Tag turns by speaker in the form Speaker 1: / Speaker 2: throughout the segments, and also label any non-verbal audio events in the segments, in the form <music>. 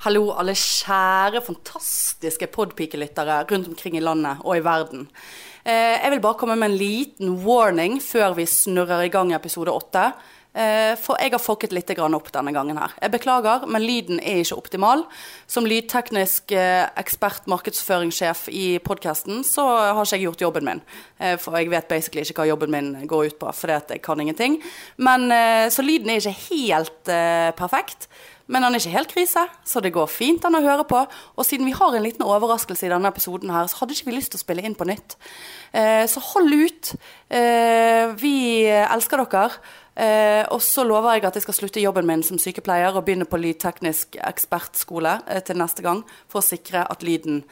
Speaker 1: Hallo, alle kjære, fantastiske podpikelyttere rundt omkring i landet og i verden. Eh, jeg vil bare komme med en liten warning før vi snurrer i gang episode åtte. Eh, for jeg har fucket litt grann opp denne gangen her. Jeg beklager, men lyden er ikke optimal. Som lydteknisk eh, ekspert markedsføringssjef i podkasten, så har ikke jeg gjort jobben min. Eh, For jeg vet basically ikke hva jobben min går ut på, fordi at jeg kan ingenting. Men, eh, så lyden er ikke helt eh, perfekt. Men han er ikke helt krise, så det går fint han å høre på. Og siden vi har en liten overraskelse i denne episoden her, så hadde ikke vi lyst til å spille inn på nytt. Eh, så hold ut. Eh, vi elsker dere. Eh, og så lover jeg at jeg skal slutte jobben min som sykepleier og begynne på lydteknisk ekspertskole eh, til neste gang, for å sikre at lyden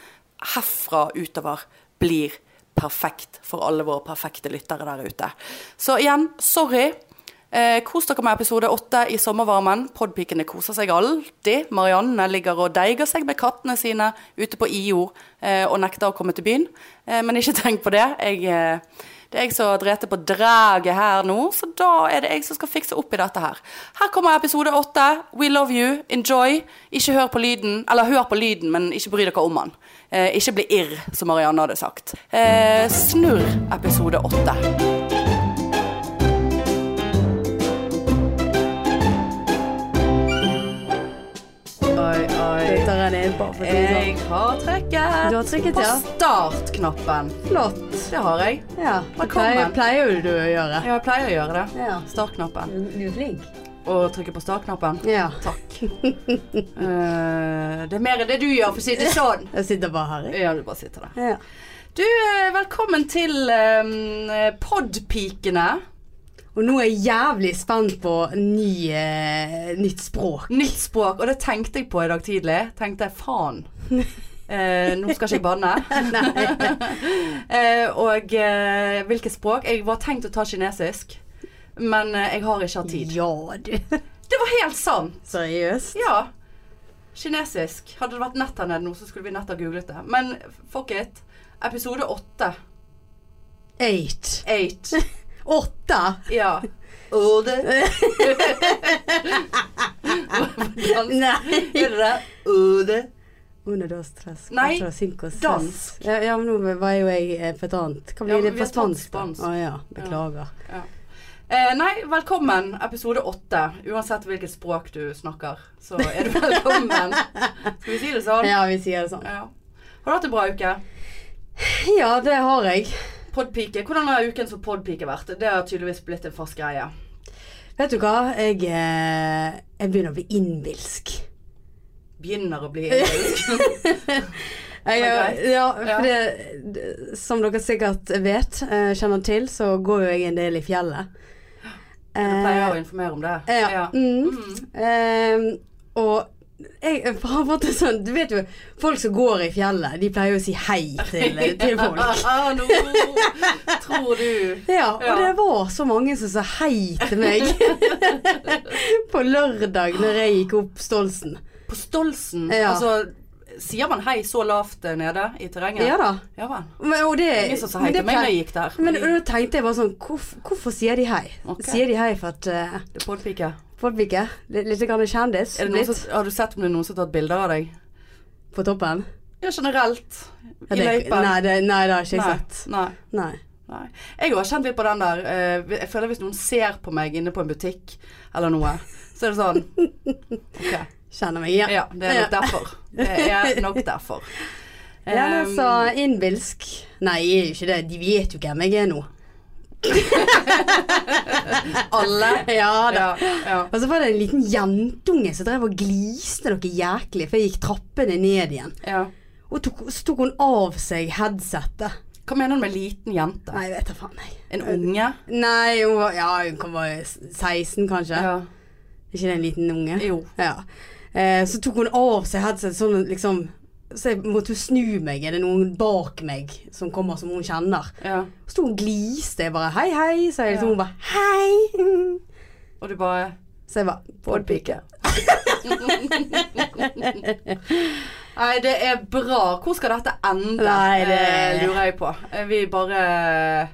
Speaker 1: herfra utover blir perfekt for alle våre perfekte lyttere der ute. Så igjen, sorry. Eh, kos dere med episode åtte i sommervarmen. Podpikene koser seg alltid. Marianne ligger og deiger seg med kattene sine ute på IO eh, og nekter å komme til byen. Eh, men ikke <laughs> tenk på det. Jeg, eh, det er jeg som dreter på draget her nå, så da er det jeg som skal fikse opp i dette her. Her kommer episode åtte. We love you. Enjoy. Ikke hør på lyden, eller hør på lyden, men ikke bry dere om den. Eh, ikke bli irr, som Marianne hadde sagt. Eh, snurr episode åtte. Oi, oi.
Speaker 2: Dytter henne inn på for å si det
Speaker 1: Jeg har trykket.
Speaker 2: Du har trykket,
Speaker 1: på
Speaker 2: ja.
Speaker 1: startknappen.
Speaker 2: Eh, Flott.
Speaker 1: Det har jeg.
Speaker 2: sånn. Ja, det pleier,
Speaker 1: Velkommen.
Speaker 2: pleier jo du å gjøre.
Speaker 1: Ja, Jeg pleier å gjøre det.
Speaker 2: Ja.
Speaker 1: Startknappen.
Speaker 2: Du er flink.
Speaker 1: Og trykke på startknappen.
Speaker 2: Ja.
Speaker 1: Takk. Eh, det er mer enn det du gjør, for å si det sånn.
Speaker 2: Jeg sitter bare her. jeg.
Speaker 1: Ja, du bare sitter der.
Speaker 2: <laughs> Ja.
Speaker 1: Du, eh, velkommen til eh, Podpikene.
Speaker 2: Og nå er jeg jævlig spent på ny, eh, nytt språk.
Speaker 1: Nytt språk. Og det tenkte jeg på i dag tidlig. Tenkte jeg
Speaker 2: <laughs>
Speaker 1: faen. Eh, nå skal ikke jeg banne.
Speaker 2: Nei.
Speaker 1: <laughs> Eh, og eh, hvilket språk? Jeg var tenkt å ta kinesisk, men eh, jeg har ikke hatt tid.
Speaker 2: Ja, du. <laughs>
Speaker 1: Det var helt sant!
Speaker 2: Seriøst?
Speaker 1: Ja. Kinesisk. Hadde det vært nett her nede nå, så skulle vi nett ha googlet det. Men fuck it. Episode åtte.
Speaker 2: Eight.
Speaker 1: Eight.
Speaker 2: Åtte?
Speaker 1: Ja. Ode. dans.
Speaker 2: Nei.
Speaker 1: Er det det? Ode.
Speaker 2: Under dos tres.
Speaker 1: Nei,
Speaker 2: cuatro, cinco, seis.
Speaker 1: dansk.
Speaker 2: Ja, ja, men nå var jo jeg eh, på et annet.
Speaker 1: Ja,
Speaker 2: Hva blir
Speaker 1: men
Speaker 2: det
Speaker 1: vi
Speaker 2: på
Speaker 1: har tatt
Speaker 2: spansk? da?
Speaker 1: spansk.
Speaker 2: Å ja, beklager.
Speaker 1: Ja. Eh, nei, velkommen episode åtte. Uansett hvilket språk du snakker, så er du velkommen. Skal vi si det sånn?
Speaker 2: Ja, vi sier det sånn.
Speaker 1: Ja. Har du hatt en bra uke?
Speaker 2: Ja, det har jeg.
Speaker 1: Podpike. Hvordan har uken som podpike vært? Det har tydeligvis blitt en fast greie.
Speaker 2: Vet du hva? Jeg, eh, jeg begynner å bli innbilsk.
Speaker 1: Begynner å bli egoistisk.
Speaker 2: Jeg,
Speaker 1: greit.
Speaker 2: Eh, ja,
Speaker 1: Ja.
Speaker 2: for det, det- som dere sikkert vet, eh, kjenner til, så går jo jeg en del i
Speaker 1: <gasps>
Speaker 2: fjellet.
Speaker 1: Du pleier
Speaker 2: Eh,
Speaker 1: å informere om det.
Speaker 2: ja.
Speaker 1: Ja.
Speaker 2: Mm.
Speaker 1: Mm.
Speaker 2: Eh, og jeg har fått det sånn Du vet jo, folk som går i fjellet, de pleier jo å si hei til, til folk.
Speaker 1: <laughs> Ah, nå tror du
Speaker 2: Ja, og
Speaker 1: Ja.
Speaker 2: det var så mange som sa hei til meg <laughs> på lørdag når jeg gikk opp Stolsen.
Speaker 1: På Stolsen,
Speaker 2: Ja.
Speaker 1: altså Sier man hei så lavt eh, nede i terrenget?
Speaker 2: Ja da.
Speaker 1: Ja vel.
Speaker 2: Men, og det,
Speaker 1: Ingen som sa
Speaker 2: men
Speaker 1: hei
Speaker 2: det
Speaker 1: til meg når
Speaker 2: pleier-
Speaker 1: jeg gikk der.
Speaker 2: Men da tenkte jeg bare sånn Hvorfor, hvorfor sier de hei?
Speaker 1: Ok.
Speaker 2: Sier de hei for at eh,
Speaker 1: Det er podpike.
Speaker 2: folk ikke litt, litt grann kjendis
Speaker 1: Er det noen
Speaker 2: blitt
Speaker 1: som, har du sett om det er noen som har tatt bilder av deg?
Speaker 2: på toppen?
Speaker 1: Ja, generelt.
Speaker 2: Ja,
Speaker 1: I
Speaker 2: det,
Speaker 1: løypen.
Speaker 2: nei, det, nei, det har ikke jeg
Speaker 1: Nei,
Speaker 2: sett.
Speaker 1: Nei.
Speaker 2: Nei.
Speaker 1: Nei. Jeg har kjent litt på den der eh, Jeg føler hvis noen ser på meg inne på en butikk eller noe, så er det sånn
Speaker 2: <laughs>
Speaker 1: Ok.
Speaker 2: Kjenner meg igjen.
Speaker 1: Ja, det er nok derfor. Det er nok derfor.
Speaker 2: <laughs> Ja, men
Speaker 1: Um,
Speaker 2: altså, innbilsk Nei, jeg er jo ikke det. De vet jo hvem jeg er nå.
Speaker 1: <laughs> alle.
Speaker 2: Ja da.
Speaker 1: Ja, ja.
Speaker 2: Og så var det en liten jentunge som drev og gliste noe jæklig, for jeg gikk trappene ned igjen.
Speaker 1: ja.
Speaker 2: Og tok, så tok hun av seg headsetet.
Speaker 1: Hva mener du med liten jente?
Speaker 2: Nei, jeg vet da faen, jeg.
Speaker 1: En unge?
Speaker 2: Nei, hun var Ja, hun kan være 16, kanskje.
Speaker 1: Ja.
Speaker 2: Ikke det en liten unge?
Speaker 1: Jo.
Speaker 2: Ja. Eh, så tok hun av seg headset sånn liksom Så jeg måtte jo snu meg. Er det noen bak meg som kommer som hun kjenner?
Speaker 1: Ja.
Speaker 2: Så sto hun og gliste. Jeg bare hei, hei. Så jeg
Speaker 1: Ja.
Speaker 2: liksom hun bare hei. <laughs>
Speaker 1: Og du bare
Speaker 2: Så jeg bare
Speaker 1: Podpike. <laughs> Nei, det er bra. Hvor skal dette ende,
Speaker 2: Nei, det-
Speaker 1: eh, lurer jeg på. Eh, Vi bare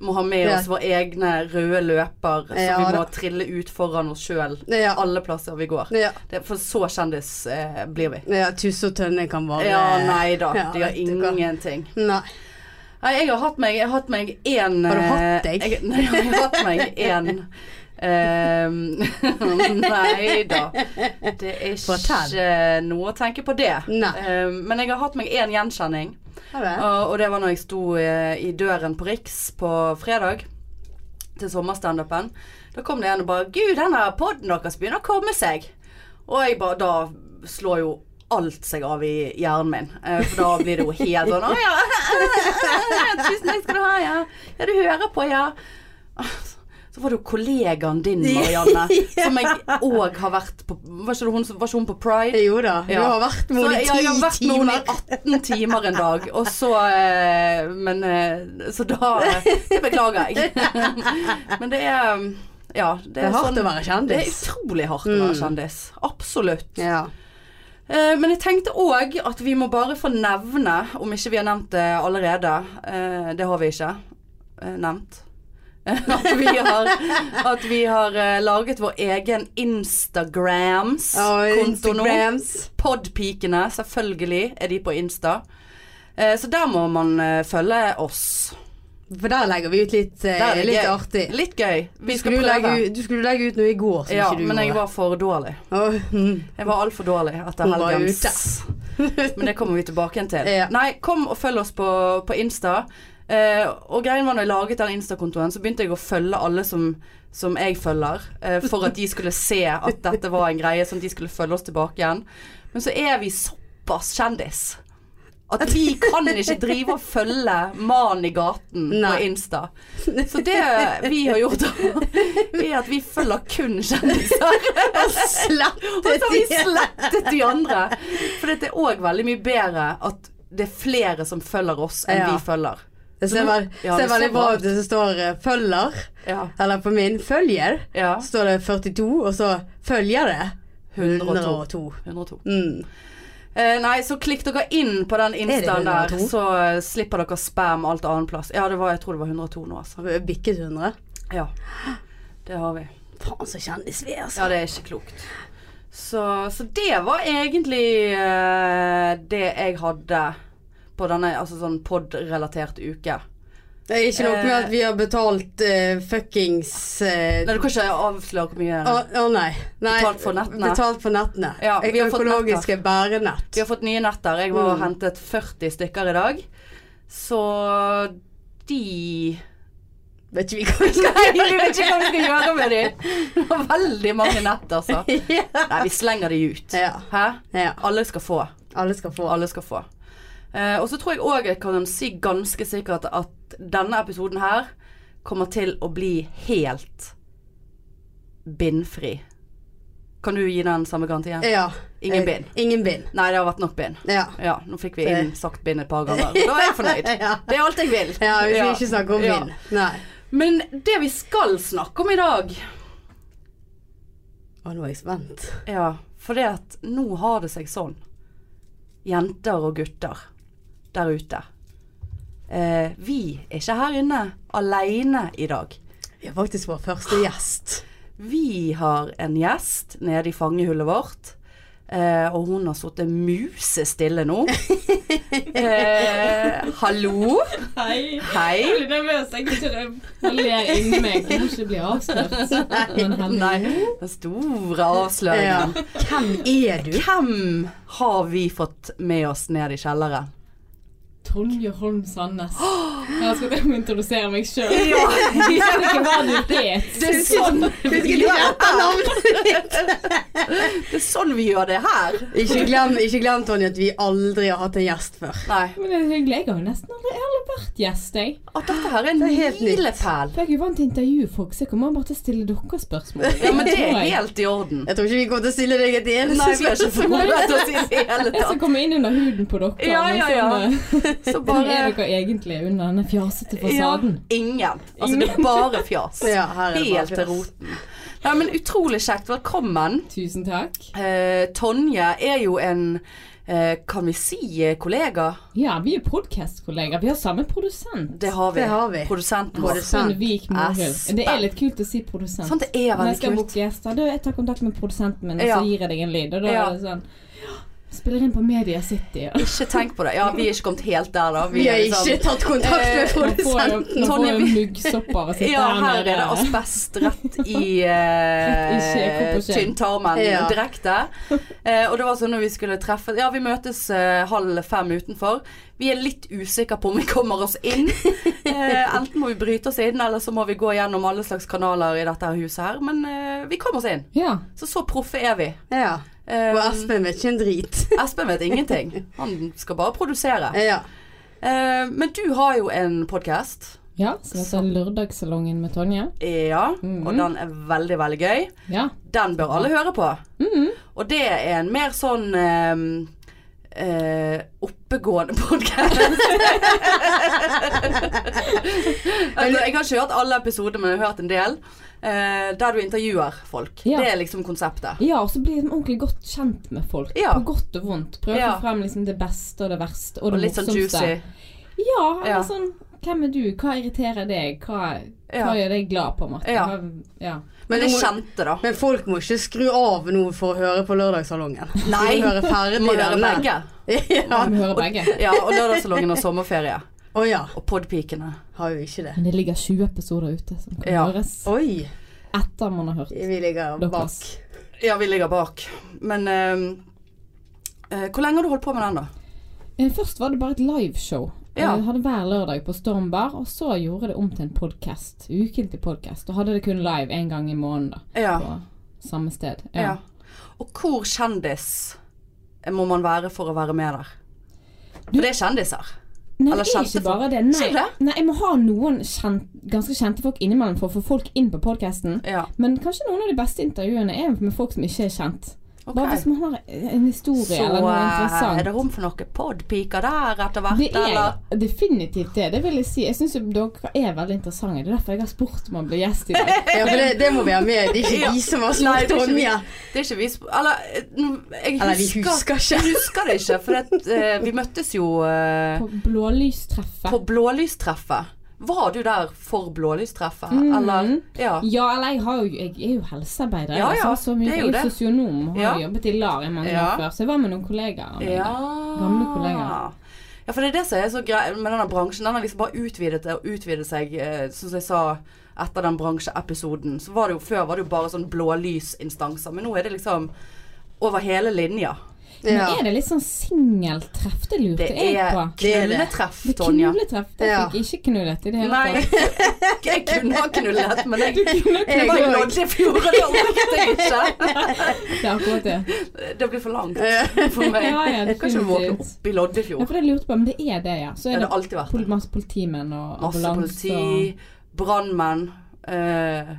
Speaker 1: må ha med
Speaker 2: Ja.
Speaker 1: oss våre egne røde løper som
Speaker 2: Ja,
Speaker 1: vi må
Speaker 2: da.
Speaker 1: trille ut foran oss sjøl
Speaker 2: Ja.
Speaker 1: alle plasser vi går.
Speaker 2: Ja.
Speaker 1: Det, for så kjendis eh, blir vi.
Speaker 2: ja Tusse og tønne kan bare
Speaker 1: Ja, nei da.
Speaker 2: Ja,
Speaker 1: De gjør
Speaker 2: vet du hva.
Speaker 1: ingenting.
Speaker 2: <laughs> Nei.
Speaker 1: Nei, jeg har hatt meg, jeg har hatt meg en
Speaker 2: Har du
Speaker 1: eh,
Speaker 2: hatt deg?
Speaker 1: Jeg, <laughs> nei, jeg har hatt meg
Speaker 2: <laughs>
Speaker 1: en ehm, <laughs> Nei da. Det er ikke eh, noe å tenke på det.
Speaker 2: Nei.
Speaker 1: Ehm, men jeg har hatt meg én gjenkjenning.
Speaker 2: Har du det?
Speaker 1: Og, og det var når jeg sto eh, i døren på Riks på fredag til sommerstandupen. Da kom det en og bare 'Gud, den der poden deres begynner å komme seg'. Og jeg bare Da slår jo alt seg av i hjernen min. Eh, For da blir det jo helt sånn 'Å ja, <laughs> tusen takk skal du ha, ja. Ja, du hører på, ja'. Så var det jo kollegaen din, Marianne, som jeg òg har vært på Var ikke hun, var ikke hun på Pride?
Speaker 2: Jo da. Du
Speaker 1: Ja.
Speaker 2: har vært med
Speaker 1: Så
Speaker 2: henne
Speaker 1: jeg- jeg har
Speaker 2: i
Speaker 1: vært
Speaker 2: ti
Speaker 1: med henne i
Speaker 2: timer.
Speaker 1: 18 timer en dag, og så eh, Men eh, Så da eh, Det beklager
Speaker 2: <laughs>
Speaker 1: jeg. Men det er um, Ja.
Speaker 2: Det er hardt
Speaker 1: sånn-
Speaker 2: å være
Speaker 1: Det er
Speaker 2: kjendis. Mm.
Speaker 1: utrolig hardt å være kjendis. Absolutt.
Speaker 2: Ja.
Speaker 1: Eh, Men jeg tenkte òg at vi må bare få nevne, om ikke vi har nevnt det allerede eh, Det har vi ikke eh, nevnt. <laughs> At vi har, at vi har eh, laget vår egen
Speaker 2: Og
Speaker 1: Instagrams-konto nå.
Speaker 2: Instagrams.
Speaker 1: Podpikene, selvfølgelig er de på Insta. Eh, Så der må man eh, følge oss.
Speaker 2: For der legger vi ut litt, eh,
Speaker 1: Der er det
Speaker 2: litt
Speaker 1: gøy.
Speaker 2: artig.
Speaker 1: Litt gøy. Vi skal
Speaker 2: Skulle du, legge,
Speaker 1: prøve.
Speaker 2: ut- du skulle legge ut noe i går som
Speaker 1: Ja,
Speaker 2: ikke du
Speaker 1: men jeg
Speaker 2: gjorde.
Speaker 1: var for dårlig.
Speaker 2: Åh, mm.
Speaker 1: Jeg var altfor dårlig etter
Speaker 2: Hun var
Speaker 1: helgens. <laughs> Men det kommer vi tilbake igjen til.
Speaker 2: Ja.
Speaker 1: Nei, kom og følg oss på, på Insta. Eh, og greien var når jeg laget den Insta-kontoen, så begynte jeg å følge alle som, som jeg følger. eh, for at de skulle se at dette var en greie, sånn at de skulle følge oss tilbake igjen. Men så er vi såpass kjendis at vi kan ikke drive og følge mannen i gaten
Speaker 2: Nei.
Speaker 1: på Insta. Så det vi har gjort, er at vi følger kun kjendiser. Og så har vi slettet de andre. For det er òg veldig mye bedre at det er flere som følger oss, enn
Speaker 2: Ja.
Speaker 1: vi følger.
Speaker 2: Det ser, vel,
Speaker 1: Ja,
Speaker 2: ser
Speaker 1: det er
Speaker 2: veldig
Speaker 1: så
Speaker 2: bra
Speaker 1: bra.
Speaker 2: ut det som står eh, 'følger',
Speaker 1: Ja.
Speaker 2: eller på min 'følger',
Speaker 1: ja.
Speaker 2: står det 42, og så 'følger det'.
Speaker 1: 102. 102.
Speaker 2: Mm.
Speaker 1: Eh, nei, så klikk dere inn på den instaen der,
Speaker 2: 102?
Speaker 1: så eh, slipper dere spam alt annet plass. Ja, det var, jeg tror det var 102 nå, altså.
Speaker 2: Har vi bikket 100?
Speaker 1: Ja. Det har vi.
Speaker 2: Faen, så kjendis vi er, altså.
Speaker 1: Ja, det er ikke klokt. Så, så det var egentlig eh, det jeg hadde på denne altså sånn pod-relatert uke.
Speaker 2: Det er ikke noe med at vi har betalt eh, fuckings eh,
Speaker 1: Nei, du kan ikke avsløre hvor mye
Speaker 2: Å å, nei. nei.
Speaker 1: Betalt for nettene.
Speaker 2: Betalt for nettene.
Speaker 1: Ja, vi har fått
Speaker 2: Økologiske bærenett.
Speaker 1: Vi har fått nye netter. Jeg var
Speaker 2: Mm.
Speaker 1: og hentet 40 stykker i dag. Så
Speaker 2: <laughs>
Speaker 1: de
Speaker 2: Vet ikke vi hva vi skal
Speaker 1: Nei, vi vet ikke hva vi skal gjøre med de. Det var veldig mange nett, altså.
Speaker 2: gjøre.
Speaker 1: Nei, vi slenger de ut.
Speaker 2: <laughs> Ja.
Speaker 1: Hæ?
Speaker 2: ja.
Speaker 1: Alle skal få.
Speaker 2: Alle skal få.
Speaker 1: Alle skal få. Eh, og så tror jeg òg jeg kan si ganske sikkert at denne episoden her kommer til å bli helt bindfri. Kan du gi den samme garantien?
Speaker 2: Ja.
Speaker 1: Ingen
Speaker 2: Eh,
Speaker 1: bind.
Speaker 2: Ingen bind.
Speaker 1: Nei, det har vært nok bind.
Speaker 2: Ja.
Speaker 1: Ja, nå fikk vi
Speaker 2: Det-
Speaker 1: inn sagt bind et par ganger. Da er jeg fornøyd.
Speaker 2: <laughs> Ja.
Speaker 1: Det er alt jeg vil.
Speaker 2: ja, vi skal
Speaker 1: Ja.
Speaker 2: ikke snakke om
Speaker 1: Ja.
Speaker 2: bind. Nei.
Speaker 1: Men det vi skal snakke om i dag
Speaker 2: Å, nå er jeg spent.
Speaker 1: Ja, for det at nå har det seg sånn. Jenter og gutter der ute. Eh, vi er ikke her inne aleine i dag.
Speaker 2: Vi har faktisk vår første gjest.
Speaker 1: Vi har en gjest nede i fangehullet vårt. Eh, og hun har sittet musestille nå.
Speaker 2: <laughs>
Speaker 1: Eh, hallo.
Speaker 3: Hei. Jeg
Speaker 1: Hei.
Speaker 3: er litt nervøs. Jeg tror jeg jeg ler inni meg. Jeg må ikke bli avslørt. Men
Speaker 1: <laughs>
Speaker 3: heldigvis.
Speaker 1: Nei, den store
Speaker 2: Mm. Ja.
Speaker 1: avsløringen.
Speaker 2: Hvem er du?
Speaker 1: Hvem har vi fått med oss ned i kjelleren?
Speaker 3: Tonje Holm Sandnes. Jeg skal til å introdusere meg
Speaker 1: <laughs>
Speaker 3: sjøl. Ikke verden vet.
Speaker 1: Det er sånn
Speaker 2: <laughs> Vi skal ikke rette navnet ditt.
Speaker 1: <laughs> Det er sånn vi gjør det her.
Speaker 2: Ikke glem, ikke glem Tonje, at vi aldri har hatt en gjest før.
Speaker 1: Nei.
Speaker 3: Men det er hyggelig. Jeg har jo nesten aldri, jeg har aldri vært gjest, jeg.
Speaker 1: At dette her er en
Speaker 2: Det er helt nytt.
Speaker 1: milepæl.
Speaker 3: For jeg er jo vant til å intervjue folk, så jeg kommer bare til å stille dere spørsmål.
Speaker 1: Ja, men det
Speaker 3: Tror
Speaker 1: er
Speaker 3: jeg.
Speaker 1: helt i orden.
Speaker 2: Jeg tror ikke vi kommer til å stille deg et
Speaker 1: Nei, vi
Speaker 2: eneste
Speaker 1: har ikke
Speaker 2: spørsmål.
Speaker 1: forberedt oss i det hele
Speaker 2: <laughs>
Speaker 3: Jeg skal
Speaker 1: tatt.
Speaker 3: komme inn under huden på dere.
Speaker 1: Ja,
Speaker 3: men
Speaker 1: ja,
Speaker 3: sånn,
Speaker 1: Så
Speaker 3: eh, Hvem
Speaker 1: bare
Speaker 3: er dere egentlig under denne fjasete
Speaker 1: ja,
Speaker 3: fasaden?
Speaker 1: Ingen. Altså, det er bare fjas.
Speaker 2: Ja, her er det bare
Speaker 1: Helt til
Speaker 2: fjas.
Speaker 1: roten. Nei, men utrolig kjekt. Velkommen.
Speaker 3: Tusen takk.
Speaker 1: Eh, Tonje er jo en eh, Kan vi si eh, kollega?
Speaker 3: Ja, vi er podcast-kollegaer. Vi har samme produsent.
Speaker 1: Det har vi.
Speaker 2: Det har vi.
Speaker 1: Produsenten vår.
Speaker 3: Espen
Speaker 2: Produsent.
Speaker 3: Vik Mohild.
Speaker 1: Espen.
Speaker 3: Det er litt kult å si produsent.
Speaker 1: Sant, det er
Speaker 3: Når jeg
Speaker 1: veldig
Speaker 3: skal
Speaker 1: kult.
Speaker 3: booke gjester, da jeg tar kontakt med produsenten min, og
Speaker 1: Ja.
Speaker 3: så gir jeg deg en lyd. Og da
Speaker 1: Ja.
Speaker 3: er det sånn «Ja, Spiller inn på Media
Speaker 1: <laughs>
Speaker 3: City.
Speaker 1: Ikke tenk på det. Ja, vi er ikke kommet helt der, da.
Speaker 2: Vi har
Speaker 1: liksom-
Speaker 2: ikke tatt kontakt med
Speaker 1: Eh,
Speaker 3: Nå får jeg
Speaker 2: produsenten.
Speaker 3: nå får jeg
Speaker 1: Tonje, vi-
Speaker 3: muggsopper og sitter
Speaker 1: Ja, her er det
Speaker 3: nede.
Speaker 1: asbest rett i
Speaker 3: Rett i skje,
Speaker 1: eh,
Speaker 3: kopp og skje.
Speaker 1: tynntarmen
Speaker 2: Ja.
Speaker 1: direkte. Eh, og det var sånn når vi skulle treffe Ja, vi møtes eh, halv fem utenfor. Vi er litt usikre på om vi kommer oss inn. Eh, enten må vi bryte oss inn, eller så må vi gå gjennom alle slags kanaler i dette her huset her. Men eh, vi kom oss inn.
Speaker 3: Ja.
Speaker 1: Så så proffe er vi.
Speaker 2: Ja.
Speaker 1: Eh,
Speaker 2: Og Espen vet ikke en drit.
Speaker 1: Espen vet ingenting. Han skal bare produsere.
Speaker 2: Ja.
Speaker 1: Eh, men du har jo en podkast.
Speaker 3: ja, så dette
Speaker 1: Sånn.
Speaker 3: er Lørdagssalongen med Tonje.
Speaker 1: Ja, og
Speaker 3: Mhm.
Speaker 1: den er veldig, veldig gøy.
Speaker 3: Ja. Mm.
Speaker 1: Den bør alle høre på. Og det er en mer sånn ehm, eh, oppegående <laughs> podkast. altså, jeg har ikke hørt alle episodene, men jeg har hørt en del. eh, der du intervjuer folk.
Speaker 3: Ja.
Speaker 1: Det er liksom konseptet.
Speaker 3: Ja, og så blir jeg ordentlig godt kjent med folk.
Speaker 1: Ja.
Speaker 3: På godt og vondt. Prøve
Speaker 1: Ja.
Speaker 3: å få frem liksom det beste og det verste. Og
Speaker 1: Og
Speaker 3: det
Speaker 1: litt sånn
Speaker 3: morsomste.
Speaker 1: juicy.
Speaker 3: Ja, eller
Speaker 1: Ja.
Speaker 3: sånn Hvem er du? Hva irriterer deg? Hva,
Speaker 1: Ja.
Speaker 3: hva gjør deg glad, på en måte?
Speaker 1: Ja.
Speaker 3: Hva- ja.
Speaker 1: Men
Speaker 2: nå
Speaker 1: det
Speaker 2: må-
Speaker 1: kjente, da.
Speaker 2: Men folk må ikke skru av noe for å høre på Lørdagssalongen.
Speaker 1: Nei.
Speaker 2: De må høre ferdig
Speaker 1: Må høre
Speaker 2: denne.
Speaker 3: <laughs>
Speaker 1: begge.
Speaker 2: ja.
Speaker 3: Vi hører begge.
Speaker 1: Ja, og Lørdagssalongen og sommerferie.
Speaker 2: Å ja.
Speaker 1: Og podpikene.
Speaker 2: Har jo ikke det.
Speaker 3: Men det ligger 20 episoder ute som kan
Speaker 1: Ja.
Speaker 3: høres
Speaker 2: Oi.
Speaker 3: etter man har hørt.
Speaker 2: Vi ligger
Speaker 3: Deres.
Speaker 2: bak.
Speaker 1: Ja, vi ligger bak. Men ehm, eh, hvor lenge har du holdt på med den, da?
Speaker 3: Eh, Først var det bare et liveshow.
Speaker 1: Ja.
Speaker 3: Jeg hadde hver lørdag på Storm Bar, og så gjorde det om til en podkast. Ukentlig podkast. Og hadde det kun live en gang i måneden, da.
Speaker 1: Ja.
Speaker 3: På samme sted.
Speaker 1: Ja. Og hvor kjendis må man være for å være med der? For det er kjendiser.
Speaker 3: Nei,
Speaker 1: Eller
Speaker 3: det er
Speaker 1: kjente
Speaker 3: ikke
Speaker 1: folk.
Speaker 3: bare det.
Speaker 1: Sier
Speaker 3: Nei,
Speaker 1: du det?
Speaker 3: nei jeg må ha noen kjent, ganske kjente folk innimellom for å få folk inn på podkasten.
Speaker 1: Ja.
Speaker 3: Men kanskje noen av de beste intervjuene er med folk som ikke er kjent.
Speaker 1: ok.
Speaker 3: Bare hvis man har en historie
Speaker 1: Så
Speaker 3: eller noe
Speaker 1: eh,
Speaker 3: interessant.
Speaker 1: er det rom for noen podpiker der etter hvert,
Speaker 3: Det
Speaker 1: eller?
Speaker 3: er definitivt det. Det vil jeg si. Jeg syns jo dere er veldig interessante. Det er derfor jeg har spurt om å bli gjest
Speaker 1: <laughs>
Speaker 3: i dag.
Speaker 2: Ja, for det, det må vi ha med. Det er ikke
Speaker 1: Ja.
Speaker 2: de som har
Speaker 1: Nei,
Speaker 2: spurt
Speaker 1: det er ikke vi.
Speaker 2: Tonje.
Speaker 1: Det er ikke vi sp- Eller, eh, nå- jeg
Speaker 2: Eller vi
Speaker 1: husker,
Speaker 2: husker ikke.
Speaker 1: Jeg <laughs> husker det ikke, for det, eh, vi møttes jo eh,
Speaker 3: På blålystreffet.
Speaker 1: på blålystreffet. Var du der for blålystreffet,
Speaker 3: Mhm.
Speaker 1: eller? Ja.
Speaker 3: Ja, eller jeg, har jo, jeg er jo helsearbeider.
Speaker 1: Ja,
Speaker 3: jeg
Speaker 1: ja,
Speaker 3: har så mye.
Speaker 1: det er jo
Speaker 3: Jeg er
Speaker 1: det.
Speaker 3: jo sosionom og har
Speaker 1: Ja.
Speaker 3: jo jobbet i LAR i mange
Speaker 1: Ja.
Speaker 3: år før. Så jeg var med noen kollegaer. av meg
Speaker 1: Ja.
Speaker 3: der. Gamle kollegaer.
Speaker 1: Ja, for det er det som er så greit med denne bransjen. Den har liksom bare utvidet og utvidet seg, eh, som jeg sa etter den bransjeepisoden. Så var det jo Før var det jo bare sånn blålysinstanser, men nå er det liksom over hele linja.
Speaker 3: Men
Speaker 2: Ja.
Speaker 3: er det litt sånn singeltreff? Det lurte
Speaker 1: Det
Speaker 3: jeg
Speaker 1: er
Speaker 3: på.
Speaker 2: Det er det.
Speaker 1: knulletreff,
Speaker 3: Det er
Speaker 1: Tonja.
Speaker 3: knulletreff. Det
Speaker 2: Ja.
Speaker 3: fikk jeg ikke knullet i det hele
Speaker 1: Nei,
Speaker 3: tatt. altså.
Speaker 1: <laughs> jeg kunne ha knullet, men jeg,
Speaker 3: Det
Speaker 1: jeg var i
Speaker 2: òg.
Speaker 1: Lodde i fjor, og det orket jeg ikke.
Speaker 3: er akkurat
Speaker 1: <laughs>
Speaker 3: det.
Speaker 1: Det blir for
Speaker 3: <laughs>
Speaker 1: langt for meg.
Speaker 3: Ja, ja,
Speaker 1: Jeg kan ikke våkne
Speaker 3: definitivt.
Speaker 1: opp i Loddefjord.
Speaker 3: Ja, for det lurte jeg på, men det er det, ja. Så
Speaker 1: Det
Speaker 3: er
Speaker 1: har
Speaker 3: det
Speaker 1: det alltid vært.
Speaker 3: pol masse politimenn og
Speaker 1: Masse
Speaker 3: ambulanse og
Speaker 1: politi, brannmenn eh,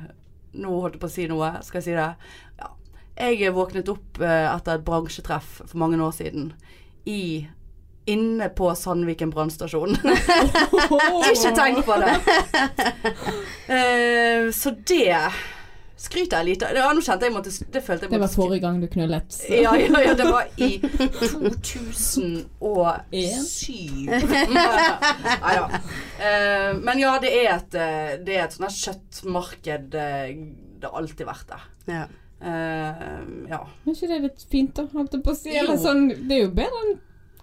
Speaker 1: Nå holdt jeg på å si noe, skal jeg si det? Ja. Jeg våknet opp eh, etter et bransjetreff for mange år siden i Inne på Sandviken brannstasjon. <laughs> Ikke tenk på det!
Speaker 3: <laughs>
Speaker 1: Eh, så det skryter jeg lite av. Ja, nå kjente jeg måtte Det følte jeg
Speaker 3: Det var
Speaker 1: måtte skry-
Speaker 3: forrige gang du knullet. så-
Speaker 1: ja, ja, ja, det var i 2007. <laughs> Nei da. Eh, Men ja, det er et, eh, det er et sånt her kjøttmarked. eh, Det har alltid vært det.
Speaker 2: Ja.
Speaker 1: Eh, ja.
Speaker 3: Men ikke det er litt fint, da? Holdt jeg på å si. Eller
Speaker 1: Jo.
Speaker 3: sånn, det er jo bedre enn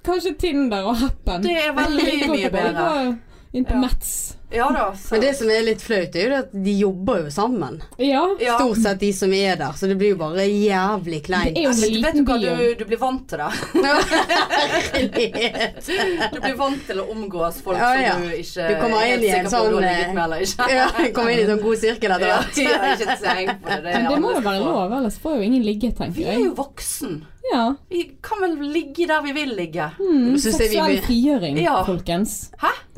Speaker 3: kanskje Tinder og Happen.
Speaker 1: Det er veldig mye bedre.
Speaker 3: Inn på
Speaker 1: Ja.
Speaker 3: Mats.
Speaker 1: Ja da. Så.
Speaker 2: Men det som er litt flaut, er jo det at de jobber jo sammen.
Speaker 3: Ja.
Speaker 1: Ja.
Speaker 2: Stort sett de som er der, så det blir jo bare jævlig kleint. <laughs>
Speaker 3: Det er jo en
Speaker 1: Men vet du
Speaker 3: liten
Speaker 1: hva,
Speaker 3: by.
Speaker 1: du, du blir vant til det. <laughs>
Speaker 2: Herlighet.
Speaker 1: Du blir vant til å omgås folk
Speaker 2: Ja, ja.
Speaker 1: som du ikke
Speaker 2: Du kommer inn i en
Speaker 1: på om du har
Speaker 2: sånn,
Speaker 1: ligget med eller ikke.
Speaker 2: Ja, jeg kom inn i en sånn god sirkel etter
Speaker 1: <laughs> Ja,
Speaker 2: hvert.
Speaker 1: jeg har ikke tenkt på det. det er
Speaker 3: Men det må
Speaker 1: alle
Speaker 3: jo være
Speaker 1: som får.
Speaker 3: lov, ellers får jo ingen ligge, tenker
Speaker 1: Vi er
Speaker 3: jeg.
Speaker 1: jo voksen.
Speaker 3: Ja.
Speaker 1: Vi kan vel ligge der vi vil ligge.
Speaker 3: Mm,
Speaker 2: Synes jeg vi
Speaker 3: seksuell
Speaker 2: blir-
Speaker 3: frigjøring,
Speaker 1: Ja.
Speaker 3: folkens.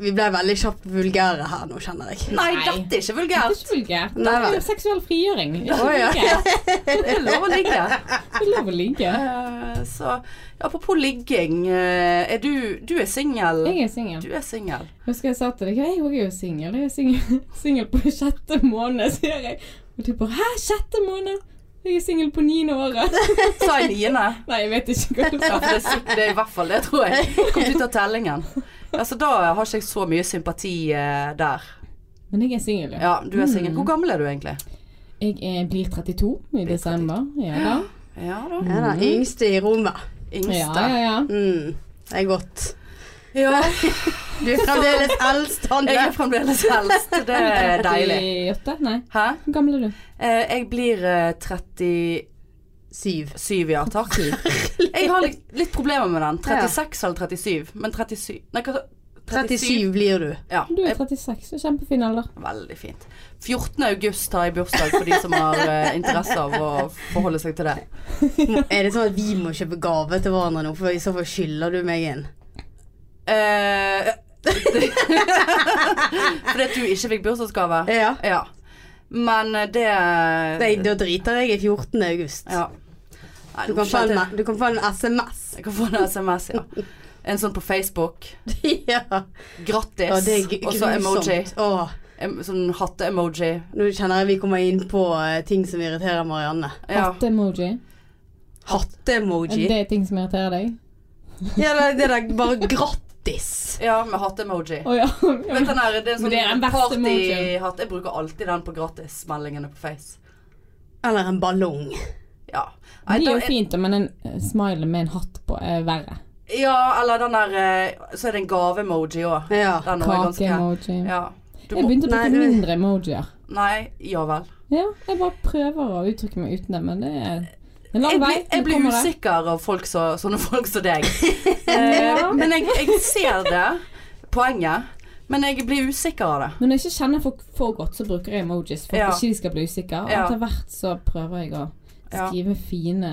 Speaker 2: Vi ble veldig kjapt vulgære her nå, kjenner jeg.
Speaker 1: Nei,
Speaker 3: Nei.
Speaker 1: dette er ikke
Speaker 3: Det er
Speaker 1: vulgært.
Speaker 3: ikke vulgært. Det
Speaker 2: Nei,
Speaker 3: er
Speaker 2: vel.
Speaker 3: jo seksuell frigjøring. Ikke
Speaker 2: Å, ja.
Speaker 3: vulgært.
Speaker 1: Det er lov å ligge.
Speaker 3: Det er lov å ligge.
Speaker 1: Eh, så apropos ligging. eh, Er du Du er singel.
Speaker 3: Jeg er singel.
Speaker 1: Du er singel.
Speaker 3: <laughs> Husker jeg sa til deg jeg er jo singel. Jeg er singel- singel på sjette måned, sier jeg. Og de bare 'hæ, sjette måned?' Jeg er singel på niende året. <laughs>
Speaker 1: Sa jeg niende?
Speaker 3: Nei, jeg vet ikke hva du
Speaker 1: <laughs> Ja, for det, er sikk- det er i hvert fall det, tror jeg. Kom ut av tellingen. Ja, så da har ikke jeg så mye sympati eh, der.
Speaker 3: Men jeg er singel, ja.
Speaker 1: Ja, du er singel. Hvor gammel er du egentlig?
Speaker 3: Jeg er, blir 32 i desember. Ja
Speaker 1: <gasps>
Speaker 3: da.
Speaker 1: Ja da. Mm.
Speaker 2: Jeg er den yngste i rommet.
Speaker 3: Ja,
Speaker 1: Yngste.
Speaker 3: ja, ja.
Speaker 2: Mm, det er godt.
Speaker 1: Ja,
Speaker 2: Du er
Speaker 1: <laughs>
Speaker 2: fremdeles eldst,
Speaker 1: jeg
Speaker 2: Hanne.
Speaker 1: er fremdeles eldst. Det er deilig.
Speaker 3: 38? Nei.
Speaker 1: Hæ?
Speaker 3: Hvor gammel er du?
Speaker 1: Eh, Jeg blir eh, 37,
Speaker 2: Syv.
Speaker 1: ja takk.
Speaker 2: <laughs>
Speaker 1: Jeg har litt, litt problemer med den. 36 eller 37. Men 37 Nei, hva sa
Speaker 2: 37 blir du.
Speaker 1: Ja.
Speaker 3: Du er
Speaker 1: jeg-
Speaker 3: 36, så kjempefin alder.
Speaker 1: Veldig fint. 14. august har jeg bursdag for de som har eh, interesse av å forholde seg til det.
Speaker 2: Må- Er det sånn at vi må kjøpe gave til hverandre nå, for i så fall skylder du meg en?
Speaker 1: Eh, <laughs> Fordi at du ikke fikk bursdagsgave?
Speaker 2: Ja.
Speaker 1: Ja. Men eh, det
Speaker 2: Nei, da driter jeg i 14. august.
Speaker 1: ja. Nei,
Speaker 2: Du
Speaker 1: nå
Speaker 2: kan få
Speaker 1: skjønte
Speaker 2: en,
Speaker 1: jeg-
Speaker 2: du kan få en SMS.
Speaker 1: Jeg kan få en SMS, ja. En sånn på Facebook.
Speaker 2: <laughs> ja.
Speaker 1: Grattis.
Speaker 2: Å, det er gru-
Speaker 1: Og så emoji.
Speaker 2: grusomt. Å,
Speaker 1: Em- Sånn hatte-emoji.
Speaker 2: nå kjenner jeg vi kommer inn på eh, ting som irriterer Marianne.
Speaker 1: Ja.
Speaker 3: Hatt-emoji.
Speaker 2: Hatte-emoji.
Speaker 3: Det er ting som irriterer deg?
Speaker 2: Ja, det, det der bare grattis.
Speaker 1: ja, med hatte-emoji.
Speaker 3: Å
Speaker 1: <laughs>
Speaker 3: ja.
Speaker 1: Vet du den der, det er en
Speaker 3: Men det er
Speaker 1: sånn
Speaker 3: den beste emojien.
Speaker 1: partyhatt. Jeg bruker alltid den på gratismeldingene på Face.
Speaker 2: Eller en ballong.
Speaker 1: Ja. Nei,
Speaker 3: Det er
Speaker 1: da-
Speaker 3: jo fint, da, men en eh, smiley med en hatt på er verre.
Speaker 1: Ja, eller den der eh, Så er det en gave-emoji òg.
Speaker 2: Ja.
Speaker 1: Den er ganske
Speaker 3: Kake-emoji.
Speaker 1: Ja. Du
Speaker 3: Jeg
Speaker 1: må,
Speaker 3: begynte å
Speaker 2: Nei,
Speaker 3: bruke
Speaker 2: du-
Speaker 3: mindre emojier.
Speaker 1: nei, ja vel.
Speaker 3: Ja, jeg bare prøver å uttrykke meg uten det, men det er en lang
Speaker 1: Jeg
Speaker 3: vei.
Speaker 1: blir, jeg
Speaker 3: Nå
Speaker 1: blir
Speaker 3: kommer det.
Speaker 1: usikker av folk så, sånne folk som
Speaker 3: <laughs>
Speaker 1: deg. Eh,
Speaker 3: Ja.
Speaker 1: men jeg, jeg ser det, poenget. Men jeg blir usikker av det.
Speaker 3: Men når jeg ikke kjenner folk for godt, så bruker jeg emojis for
Speaker 1: Ja.
Speaker 3: at ikke de skal bli usikre. Og
Speaker 1: Ja.
Speaker 3: etter hvert så prøver jeg å
Speaker 1: Ja.
Speaker 3: skrive fine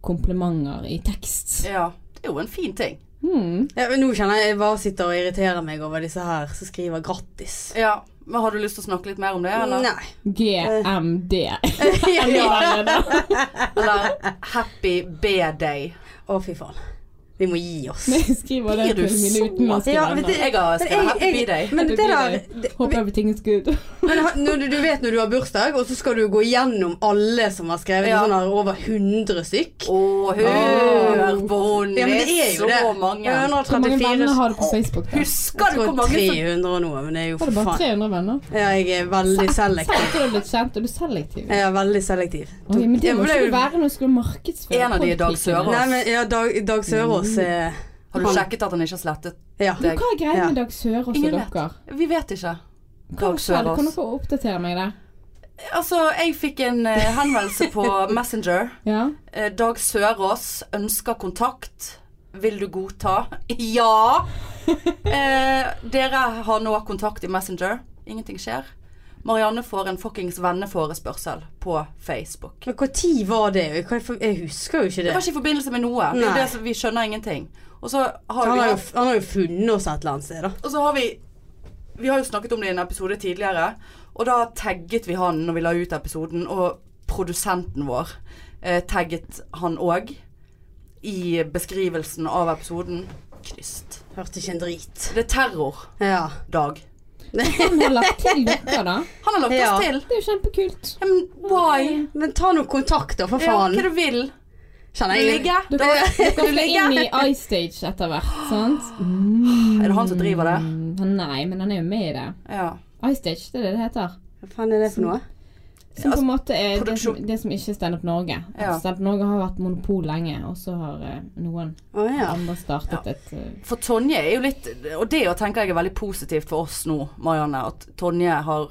Speaker 3: komplimenter i tekst.
Speaker 1: Ja, det er jo en fin ting.
Speaker 3: Hmm.
Speaker 2: Ja, men nå kjenner jeg jeg bare sitter og irriterer meg over disse her som skriver grattis.
Speaker 1: Ja, men Har du lyst til å snakke litt mer om det, eller?
Speaker 2: Nei. <laughs>
Speaker 3: GMD. <laughs>
Speaker 2: Ja.
Speaker 1: Eller Happy B-day.
Speaker 2: Å, fy faen. Vi må gi oss.
Speaker 3: Når jeg skriver det
Speaker 1: Blir du
Speaker 3: til mine
Speaker 1: så-
Speaker 3: utenlandske
Speaker 2: Ja, men
Speaker 3: venner.
Speaker 2: det-
Speaker 1: Jeg har
Speaker 2: Men
Speaker 1: skrevet
Speaker 2: jeg-
Speaker 1: Happy
Speaker 2: jeg-
Speaker 1: B-day.
Speaker 2: Men det
Speaker 3: blir
Speaker 2: der
Speaker 3: det.
Speaker 2: det-
Speaker 3: Håper everything is good.
Speaker 2: men ha- når du, du vet når du har bursdag, og så skal du gå gjennom alle som har skrevet
Speaker 1: Ja.
Speaker 2: sånn her over 100 stykk.
Speaker 1: Å, hør på hun!
Speaker 2: Ja, men det er jo det.
Speaker 1: så mange.
Speaker 3: Hvor mange
Speaker 2: 134
Speaker 3: venner har du på Facebook? da?
Speaker 2: Jeg
Speaker 1: Husker du
Speaker 2: tror
Speaker 1: hvor mange som
Speaker 2: 300 og noe, men det er jo
Speaker 3: Har
Speaker 2: for
Speaker 3: du bare
Speaker 2: faen.
Speaker 3: 300 venner?
Speaker 2: Ja, jeg er veldig selektiv.
Speaker 3: Selv om du er litt kjent, er du selektiv.
Speaker 2: Jeg er veldig selektiv.
Speaker 3: Oi, men det
Speaker 2: Jeg
Speaker 3: må
Speaker 2: ble
Speaker 3: ikke
Speaker 2: jo-
Speaker 3: være når du skal markedsføre.
Speaker 1: En av de er Dag
Speaker 3: podcasten.
Speaker 1: Sørås.
Speaker 2: Nei, men ja, Dag, Dag Sørås eh,
Speaker 1: Har du sjekket at han ikke har slettet
Speaker 2: Ja.
Speaker 3: Men
Speaker 1: deg?
Speaker 3: Hva er greia
Speaker 2: Ja.
Speaker 3: med Dag Sørås og
Speaker 1: Ingen vet.
Speaker 3: dere?
Speaker 1: Vi vet ikke.
Speaker 3: Hva
Speaker 1: Dag
Speaker 3: skjer? Kan
Speaker 1: Sørås.
Speaker 3: dere oppdatere meg der?
Speaker 1: Altså, jeg fikk en eh, henvendelse på <laughs> Messenger.
Speaker 3: Ja.
Speaker 1: Eh, Dag Sørås ønsker kontakt. Vil du godta? <laughs> Ja! Eh, dere har nå kontakt i Messenger. Ingenting skjer. Marianne får en fuckings venneforespørsel på Facebook.
Speaker 2: Men når var det? Jeg kan- Jeg husker jo ikke
Speaker 1: Det
Speaker 2: det.
Speaker 1: var ikke i forbindelse med noe. Det er jo
Speaker 2: Nei.
Speaker 1: det som vi skjønner ingenting. Og så har
Speaker 2: Han
Speaker 1: vi
Speaker 2: har, jo,
Speaker 1: hatt-
Speaker 2: han har jo funnet oss et eller annet sted, da.
Speaker 1: Og så har vi Vi har jo snakket om det i en episode tidligere. Og da tagget vi han når vi la ut episoden, og produsenten vår eh, tagget han òg. I beskrivelsen av episoden. Kryst.
Speaker 2: Hørte ikke en drit.
Speaker 1: Det er terrordag.
Speaker 2: Ja.
Speaker 3: Han har lagt til dere, da.
Speaker 1: Han har lagt
Speaker 2: Ja.
Speaker 1: oss til.
Speaker 3: Det er jo kjempekult.
Speaker 1: Ja, Men why?
Speaker 2: Men ta nå kontakt, da, for
Speaker 1: Ja, hva
Speaker 2: faen.
Speaker 1: du vil.
Speaker 2: Kjenner jeg
Speaker 1: Ligge.
Speaker 3: Dere, dere skal
Speaker 1: ligger.
Speaker 3: inn i iStage etter
Speaker 1: <gasps>
Speaker 3: hvert, sant?
Speaker 1: Er det han som driver det?
Speaker 3: Mm, Nei, men han er jo med i det.
Speaker 1: Ja.
Speaker 3: iStage, det er det det heter.
Speaker 2: Hva faen er det for noe?
Speaker 3: Som på en måte er det som,
Speaker 1: produksjon-
Speaker 3: det som ikke er Stand Up Norge. At
Speaker 1: Ja.
Speaker 3: Stand Up Norge har vært monopol lenge, og så har eh, noen
Speaker 2: Å ja.
Speaker 3: andre startet et eh,
Speaker 1: For Tonje er jo litt Og det jo tenker jeg er veldig positivt for oss nå, Marianne. At Tonje har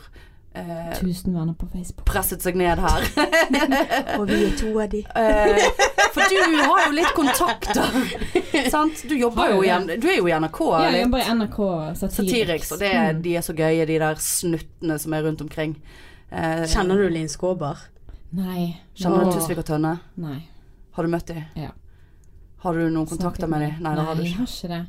Speaker 1: eh,
Speaker 3: Tusen venner på Facebook.
Speaker 1: presset seg ned her.
Speaker 3: <laughs>
Speaker 2: Og vi er to av de.
Speaker 1: Eh, For du har jo litt
Speaker 3: <laughs>
Speaker 1: kontakter. Sant? Du jobber
Speaker 3: Har
Speaker 1: jo
Speaker 3: jo
Speaker 1: i
Speaker 3: det.
Speaker 1: N- Du er jo i NRK.
Speaker 3: Ja, jeg
Speaker 1: eller?
Speaker 3: jobber i Mm. NRK Satiriks.
Speaker 1: Satiriks. Og det, er- de er så gøye, de der snuttene som er rundt omkring. Eh,
Speaker 2: Kjenner du Linn Skåber?
Speaker 3: Nei.
Speaker 1: Kjenner du
Speaker 3: Åh,
Speaker 1: Tusvik og Tønne?
Speaker 3: Nei.
Speaker 1: Har du møtt dem?
Speaker 3: Ja.
Speaker 1: Har du noen kontakter med dem? Nei, det har du
Speaker 3: jeg
Speaker 1: ikke.
Speaker 3: har ikke det.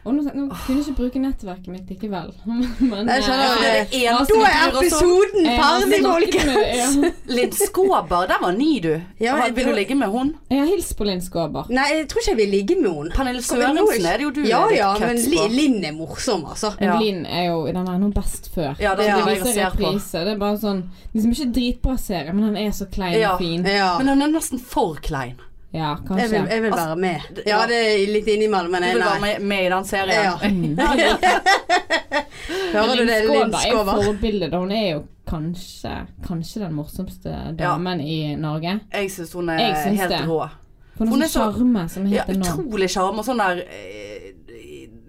Speaker 3: Og nå, nå kunne jeg ikke bruke nettverket mitt likevel. <laughs> Men,
Speaker 2: Jeg skjønner
Speaker 3: eh,
Speaker 2: det.
Speaker 1: det er en
Speaker 3: altså,
Speaker 2: Da
Speaker 1: tur, og sånn. Eh,
Speaker 2: er
Speaker 1: så-
Speaker 2: episoden
Speaker 3: jeg har
Speaker 2: ferdig,
Speaker 3: snakket
Speaker 2: folkens!
Speaker 3: med- <laughs> ja.
Speaker 1: Linn Skåber, der var ny, du.
Speaker 2: Ja,
Speaker 1: Har-
Speaker 2: jeg
Speaker 1: Vil du
Speaker 2: tror-
Speaker 1: ligge med hun?
Speaker 3: Jeg har hilst på Linn Skåber.
Speaker 2: <laughs> Nei, jeg tror ikke jeg vil ligge med henne.
Speaker 1: Pernille
Speaker 2: Så jeg må
Speaker 1: Sørensen
Speaker 2: ikke-
Speaker 1: er det jo du
Speaker 2: Ja,
Speaker 1: er litt
Speaker 2: ja,
Speaker 1: cuts
Speaker 2: men
Speaker 1: på.
Speaker 2: Li- Linn er morsom, altså.
Speaker 3: Men
Speaker 1: Ja.
Speaker 3: Linn er jo i den der noe best før.
Speaker 1: Ja, den
Speaker 2: Ja.
Speaker 1: driver jeg
Speaker 3: viser
Speaker 1: og ser på.
Speaker 3: reprise. Det er bare sånn Liksom ikke dritbra serie, men han er så klein
Speaker 1: Ja.
Speaker 3: og fin.
Speaker 2: Ja.
Speaker 1: Men altså, hun er nesten for klein.
Speaker 3: Ja,
Speaker 2: Jeg
Speaker 3: kanskje.
Speaker 2: vil, jeg vil være med. Ja,
Speaker 1: altså, ja.
Speaker 2: det er litt innimellom, men
Speaker 1: Du
Speaker 2: nei.
Speaker 1: vil være
Speaker 2: nei.
Speaker 1: med, med Mm. i den serien? <laughs>
Speaker 2: Ja. <laughs> Hører du det, Linn
Speaker 3: er jo
Speaker 2: Skåber?
Speaker 3: forbildet. og Hun er jo kanskje, kanskje den morsomste damen i Norge.
Speaker 1: Jeg syns hun
Speaker 3: Jeg
Speaker 1: er
Speaker 3: syns
Speaker 1: helt
Speaker 3: det.
Speaker 1: rå.
Speaker 3: For hun
Speaker 1: Hun
Speaker 3: har
Speaker 1: er
Speaker 3: sånn
Speaker 1: så-
Speaker 3: sjarme som er
Speaker 1: Ja,
Speaker 3: helt enorm.
Speaker 1: utrolig sjarm og sånn der eh,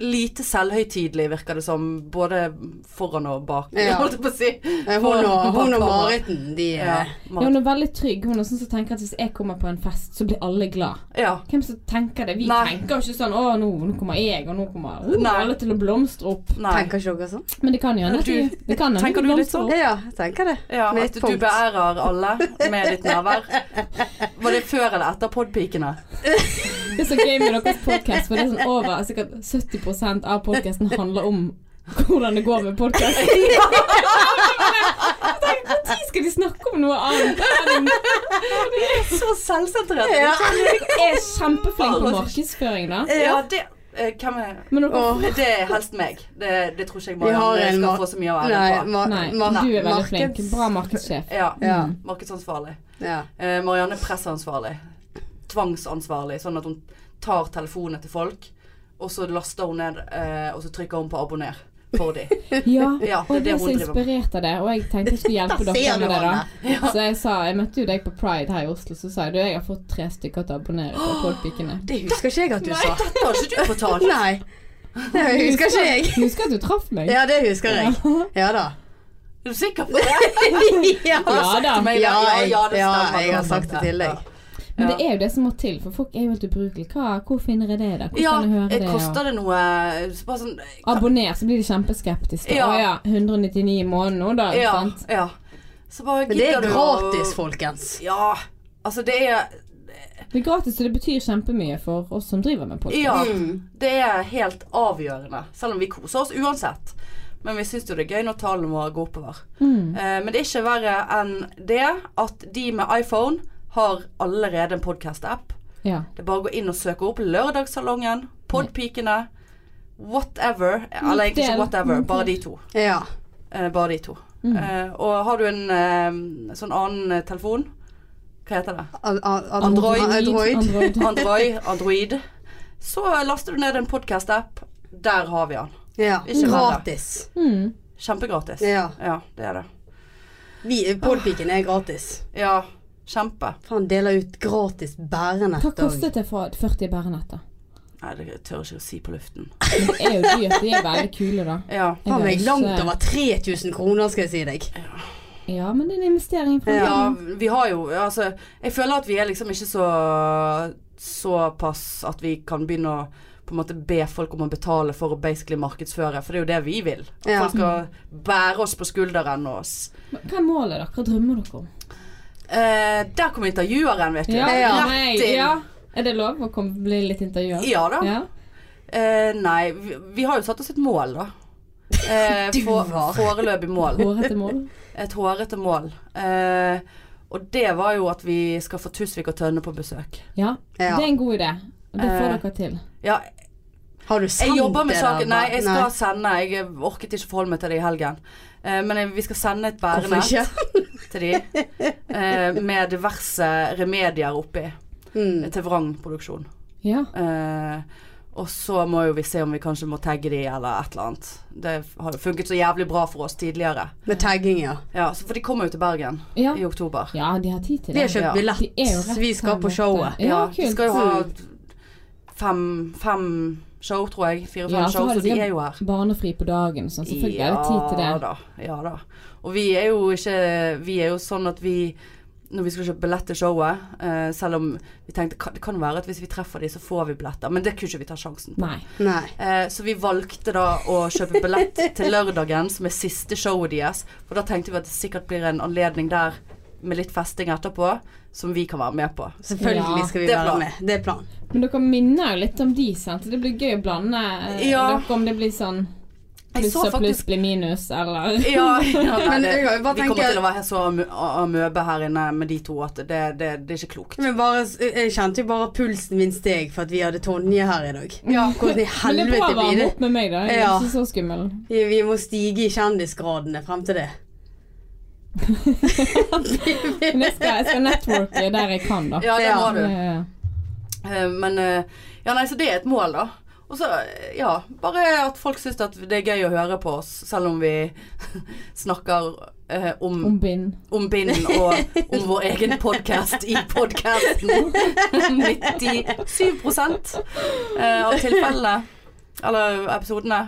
Speaker 1: Lite selvhøytidelig, virker det som. Både foran og bak,
Speaker 2: Ja.
Speaker 1: holdt jeg på å si.
Speaker 2: Eh, Hun
Speaker 1: Bak
Speaker 2: og, hun og
Speaker 1: kamera.
Speaker 2: Mariten, de
Speaker 1: Ja.
Speaker 2: eh,
Speaker 3: Ja, hun er veldig trygg. Hun er sånn som tenker at hvis jeg kommer på en fest, så blir alle glad.
Speaker 1: ja.
Speaker 3: Hvem som tenker det? Vi
Speaker 1: Nei.
Speaker 3: tenker jo ikke sånn 'Å, nå, nå kommer jeg, og nå kommer oh,
Speaker 1: Nei.
Speaker 3: alle til å blomstre opp'.
Speaker 1: Nei.
Speaker 2: Tenker ikke dere sånn?
Speaker 3: Men det kan jo hende at
Speaker 1: Du-
Speaker 3: de- det kan hende
Speaker 1: tenker
Speaker 3: de
Speaker 1: du litt
Speaker 3: blomstrer
Speaker 1: sånn?
Speaker 3: opp.
Speaker 2: Ja, ja, jeg tenker det.
Speaker 1: Ja,
Speaker 2: Med
Speaker 1: at du
Speaker 2: et punkt.
Speaker 1: beærer alle med ditt
Speaker 2: <laughs>
Speaker 1: nærvær. Var det før eller etter podpikene?
Speaker 3: Det er så gøy med deres podcast, for det er sånn over sikkert 70 av podcasten handler om hvordan det går
Speaker 1: <laughs>
Speaker 3: med podcasten. Når skal de snakke om noe annet?
Speaker 1: Så selvsentrert.
Speaker 2: Ja.
Speaker 3: Jeg er kjempeflink på markedsføring, da.
Speaker 1: Ja, det eh, Hvem er
Speaker 3: Men dere
Speaker 2: Åh,
Speaker 1: Det er helst meg. Det, det tror ikke jeg
Speaker 2: Vi har
Speaker 1: Marianne skal
Speaker 2: en mar-
Speaker 1: få så mye å
Speaker 2: Nei,
Speaker 1: ære på.
Speaker 2: ma
Speaker 3: Nei, du
Speaker 2: ma-
Speaker 3: er veldig flink.
Speaker 2: markeds-
Speaker 3: Bra markedssjef.
Speaker 1: Ja.
Speaker 2: Ja.
Speaker 1: Markedsansvarlig.
Speaker 2: ja.
Speaker 1: Eh, Marianne er pressansvarlig. Tvangsansvarlig. Sånn at hun tar telefonene til folk, og så laster hun ned, eh, og så trykker hun på abonner for
Speaker 2: <laughs>
Speaker 1: dem.
Speaker 3: Ja,
Speaker 1: <laughs> Ja,
Speaker 3: og jeg
Speaker 1: det er det
Speaker 3: ble
Speaker 1: hun
Speaker 3: så
Speaker 1: driver med.
Speaker 3: inspirert av det, og jeg tenkte jeg skulle
Speaker 1: <laughs>
Speaker 3: hjelpe
Speaker 2: Da
Speaker 3: dere
Speaker 2: ser du
Speaker 3: med det.
Speaker 2: henne.
Speaker 3: da Så jeg sa, jeg møtte jo deg på Pride her i Oslo, så sa jeg du, jeg har fått tre stykker til å abonnere
Speaker 1: <gasps>
Speaker 3: på Podpikene.
Speaker 2: Det husker ikke jeg at du sa.
Speaker 1: Dette har ikke du fortalt.
Speaker 2: Nei. Det husker ikke jeg.
Speaker 3: <laughs> Husker at du traff meg?
Speaker 2: Ja, det husker jeg. Ja da.
Speaker 1: <laughs> Er du sikker på det?
Speaker 2: Ja,
Speaker 3: <laughs> Ja da.
Speaker 1: Til meg,
Speaker 2: Ja, jeg, ja,
Speaker 1: det stemmer.
Speaker 2: jeg har sagt det til
Speaker 1: Ja.
Speaker 2: deg.
Speaker 3: Men
Speaker 1: Ja.
Speaker 3: det er jo det som må til, for folk er jo helt ubrukelige. Hva, hvor finner jeg det? da? Hvor
Speaker 1: Ja,
Speaker 3: kan jeg høre
Speaker 1: eh,
Speaker 3: det?
Speaker 1: koster det noe så bare sånn,
Speaker 3: Og abonner, så blir de kjempeskeptiske.
Speaker 1: Ja.
Speaker 3: Å ja, 199 i måneden nå, da.
Speaker 1: ja,
Speaker 3: Sant?
Speaker 1: ja. Så bare
Speaker 2: Men det
Speaker 1: gidder
Speaker 2: er
Speaker 1: du å-
Speaker 2: gratis, folkens.
Speaker 1: Ja. Altså, det er
Speaker 3: Det er gratis, så det betyr kjempemye for oss som driver med podkast.
Speaker 1: Ja.
Speaker 2: Mm.
Speaker 1: Det er helt avgjørende. Selv om vi koser oss uansett. Men vi syns jo det er gøy når tallene våre går oppover.
Speaker 3: Mm.
Speaker 1: Eh, men det er ikke verre enn det at de med iPhone har allerede en podkast-app.
Speaker 3: Ja.
Speaker 1: Det er bare å gå inn og søke opp Lørdagssalongen, Podpikene, whatever. Eller egentlig ikke
Speaker 3: Del.
Speaker 1: whatever, bare de to.
Speaker 2: Ja.
Speaker 1: Eh, bare de to.
Speaker 3: Mm.
Speaker 1: Eh, og har du en eh, sånn annen eh, telefon Hva heter det?
Speaker 2: An- an- Android. Android.
Speaker 1: <laughs> Android, Android. Så laster du ned en podkast-app. Der har vi den.
Speaker 2: Ja.
Speaker 1: Ikke verre.
Speaker 2: Gratis.
Speaker 3: Mm.
Speaker 1: Kjempegratis.
Speaker 2: Ja.
Speaker 1: Ja, det er det.
Speaker 2: Vi- Podpiken er gratis.
Speaker 1: Ja, kjempe.
Speaker 2: Faen, deler ut gratis bærenett
Speaker 3: Hva
Speaker 2: og-
Speaker 3: kostet det for 40 bærenett, da?
Speaker 1: Nei, det tør jeg ikke å si på luften.
Speaker 3: Det er jo dyrt. De er veldig kule, da.
Speaker 1: Ja.
Speaker 3: Jeg
Speaker 2: Faen
Speaker 3: har
Speaker 2: meg
Speaker 3: ikke-
Speaker 2: langt over 3000 kroner, skal jeg si deg.
Speaker 3: Ja, men det er en investering. For
Speaker 1: ja, vi har jo Altså, jeg føler at vi er liksom ikke så såpass at vi kan begynne å på en måte be folk om å betale for å basically markedsføre, for det er jo det vi vil. At
Speaker 2: Ja.
Speaker 1: folk skal bære oss på skulderen og oss.
Speaker 3: Hva er målet dere? Hva drømmer dere om?
Speaker 1: Eh, der kom intervjueren, vet du.
Speaker 3: Ja,
Speaker 2: Ja.
Speaker 3: nei,
Speaker 1: Rett inn.
Speaker 3: ja. Er det lov å komme, bli litt intervjuet?
Speaker 1: Ja da.
Speaker 3: Ja.
Speaker 1: Eh, nei, vi, vi har jo satt oss et mål, da. Eh, <laughs>
Speaker 2: Du
Speaker 1: for,
Speaker 2: var.
Speaker 1: foreløpig <laughs> mål.
Speaker 3: Hårete mål?
Speaker 1: Et hårete mål. Eh, og det var jo at vi skal få Tusvik og Tønne på besøk.
Speaker 3: Ja.
Speaker 2: Ja.
Speaker 3: Det er en god idé. Og det får
Speaker 1: Eh,
Speaker 3: dere til.
Speaker 1: Ja,
Speaker 2: Har du sendt
Speaker 1: jeg
Speaker 2: det?
Speaker 1: jobber med
Speaker 2: der,
Speaker 1: saken. Nei, jeg skal
Speaker 2: Nei.
Speaker 1: sende. Jeg orket ikke forholde meg til det i helgen. Eh, men jeg, vi skal sende et
Speaker 2: Hvorfor
Speaker 1: bærenett
Speaker 2: ikke?
Speaker 1: til de eh, med diverse remedier oppi.
Speaker 2: Mm.
Speaker 1: Til Vrang produksjon.
Speaker 3: Ja.
Speaker 1: Eh, og så må jo vi se om vi kanskje må tagge de eller et eller annet. Det har jo funket så jævlig bra for oss tidligere.
Speaker 2: Med tagging, ja.
Speaker 1: Ja, så For de kommer jo til Bergen
Speaker 3: Ja.
Speaker 1: i oktober.
Speaker 3: ja, de har tid til
Speaker 2: Vi har
Speaker 3: det.
Speaker 2: kjøpt
Speaker 1: Ja.
Speaker 2: billett.
Speaker 3: De er jo rett
Speaker 2: Vi skal
Speaker 3: her
Speaker 2: på
Speaker 3: borte.
Speaker 2: showet.
Speaker 3: Ja,
Speaker 1: vi
Speaker 3: kult.
Speaker 1: skal jo ha fem, fem show, tror jeg. Fire-fem
Speaker 3: Ja, så
Speaker 1: show,
Speaker 3: har
Speaker 1: så
Speaker 3: de
Speaker 1: de
Speaker 3: sikkert
Speaker 1: er jo her.
Speaker 3: Barnefri på dagen, sånn. Selvfølgelig er det tid til
Speaker 1: Ja
Speaker 3: det.
Speaker 1: da. Ja da. Og vi er jo ikke Vi er jo sånn at vi når vi skal kjøpe billett til showet, eh, selv om vi tenkte kan- det kan være at hvis vi treffer de, så får vi billetter, men det kunne ikke vi ta sjansen på.
Speaker 3: Nei.
Speaker 2: Nei.
Speaker 1: Eh, Så vi valgte da å kjøpe
Speaker 3: <laughs>
Speaker 1: billett til lørdagen, som er siste showet deres. For da tenkte vi at det sikkert blir en anledning der med litt festing etterpå, som vi kan være med på.
Speaker 2: Selvfølgelig
Speaker 3: Ja.
Speaker 2: skal vi
Speaker 1: Det er
Speaker 2: være
Speaker 1: planen.
Speaker 2: med. Det er planen.
Speaker 3: Men dere minner jo litt om de, sant? Det blir gøy å blande eh,
Speaker 1: Ja.
Speaker 3: dere om det blir sånn
Speaker 1: Jeg
Speaker 3: pluss
Speaker 1: så
Speaker 3: og pluss
Speaker 1: faktisk-
Speaker 3: blir minus, eller
Speaker 1: Ja, <laughs> ja nei,
Speaker 2: Men
Speaker 1: det,
Speaker 2: jeg kan jo bare
Speaker 1: vi kommer
Speaker 2: tenke-
Speaker 1: til å være så am- amøbe her inne med de to at det, det, det er ikke klokt.
Speaker 2: Men bare, jeg kjente jo bare pulsen min steg for at vi hadde Tonje her i dag. Hvordan i
Speaker 3: Men det er bra
Speaker 2: helvete
Speaker 3: å
Speaker 2: blir
Speaker 3: varme
Speaker 2: det?
Speaker 3: opp med meg, da. Jeg er
Speaker 2: Ja.
Speaker 3: ikke så skummel.
Speaker 2: Vi, vi må stige i kjendisgradene frem til det.
Speaker 3: Men jeg skal, jeg skal networke der jeg kan, da.
Speaker 1: Ja, det må du.
Speaker 3: Ja, ja, ja.
Speaker 1: Eh, Men eh, Ja, nei, så det er et mål, da. Og så, eh, ja Bare at folk syns at det er gøy å høre på oss, selv om vi <laughs> snakker eh, om,
Speaker 3: Om bind.
Speaker 1: om <laughs> bind og om vår egen podkast i podkasten. 97 eh, av tilfellene. Eller episodene.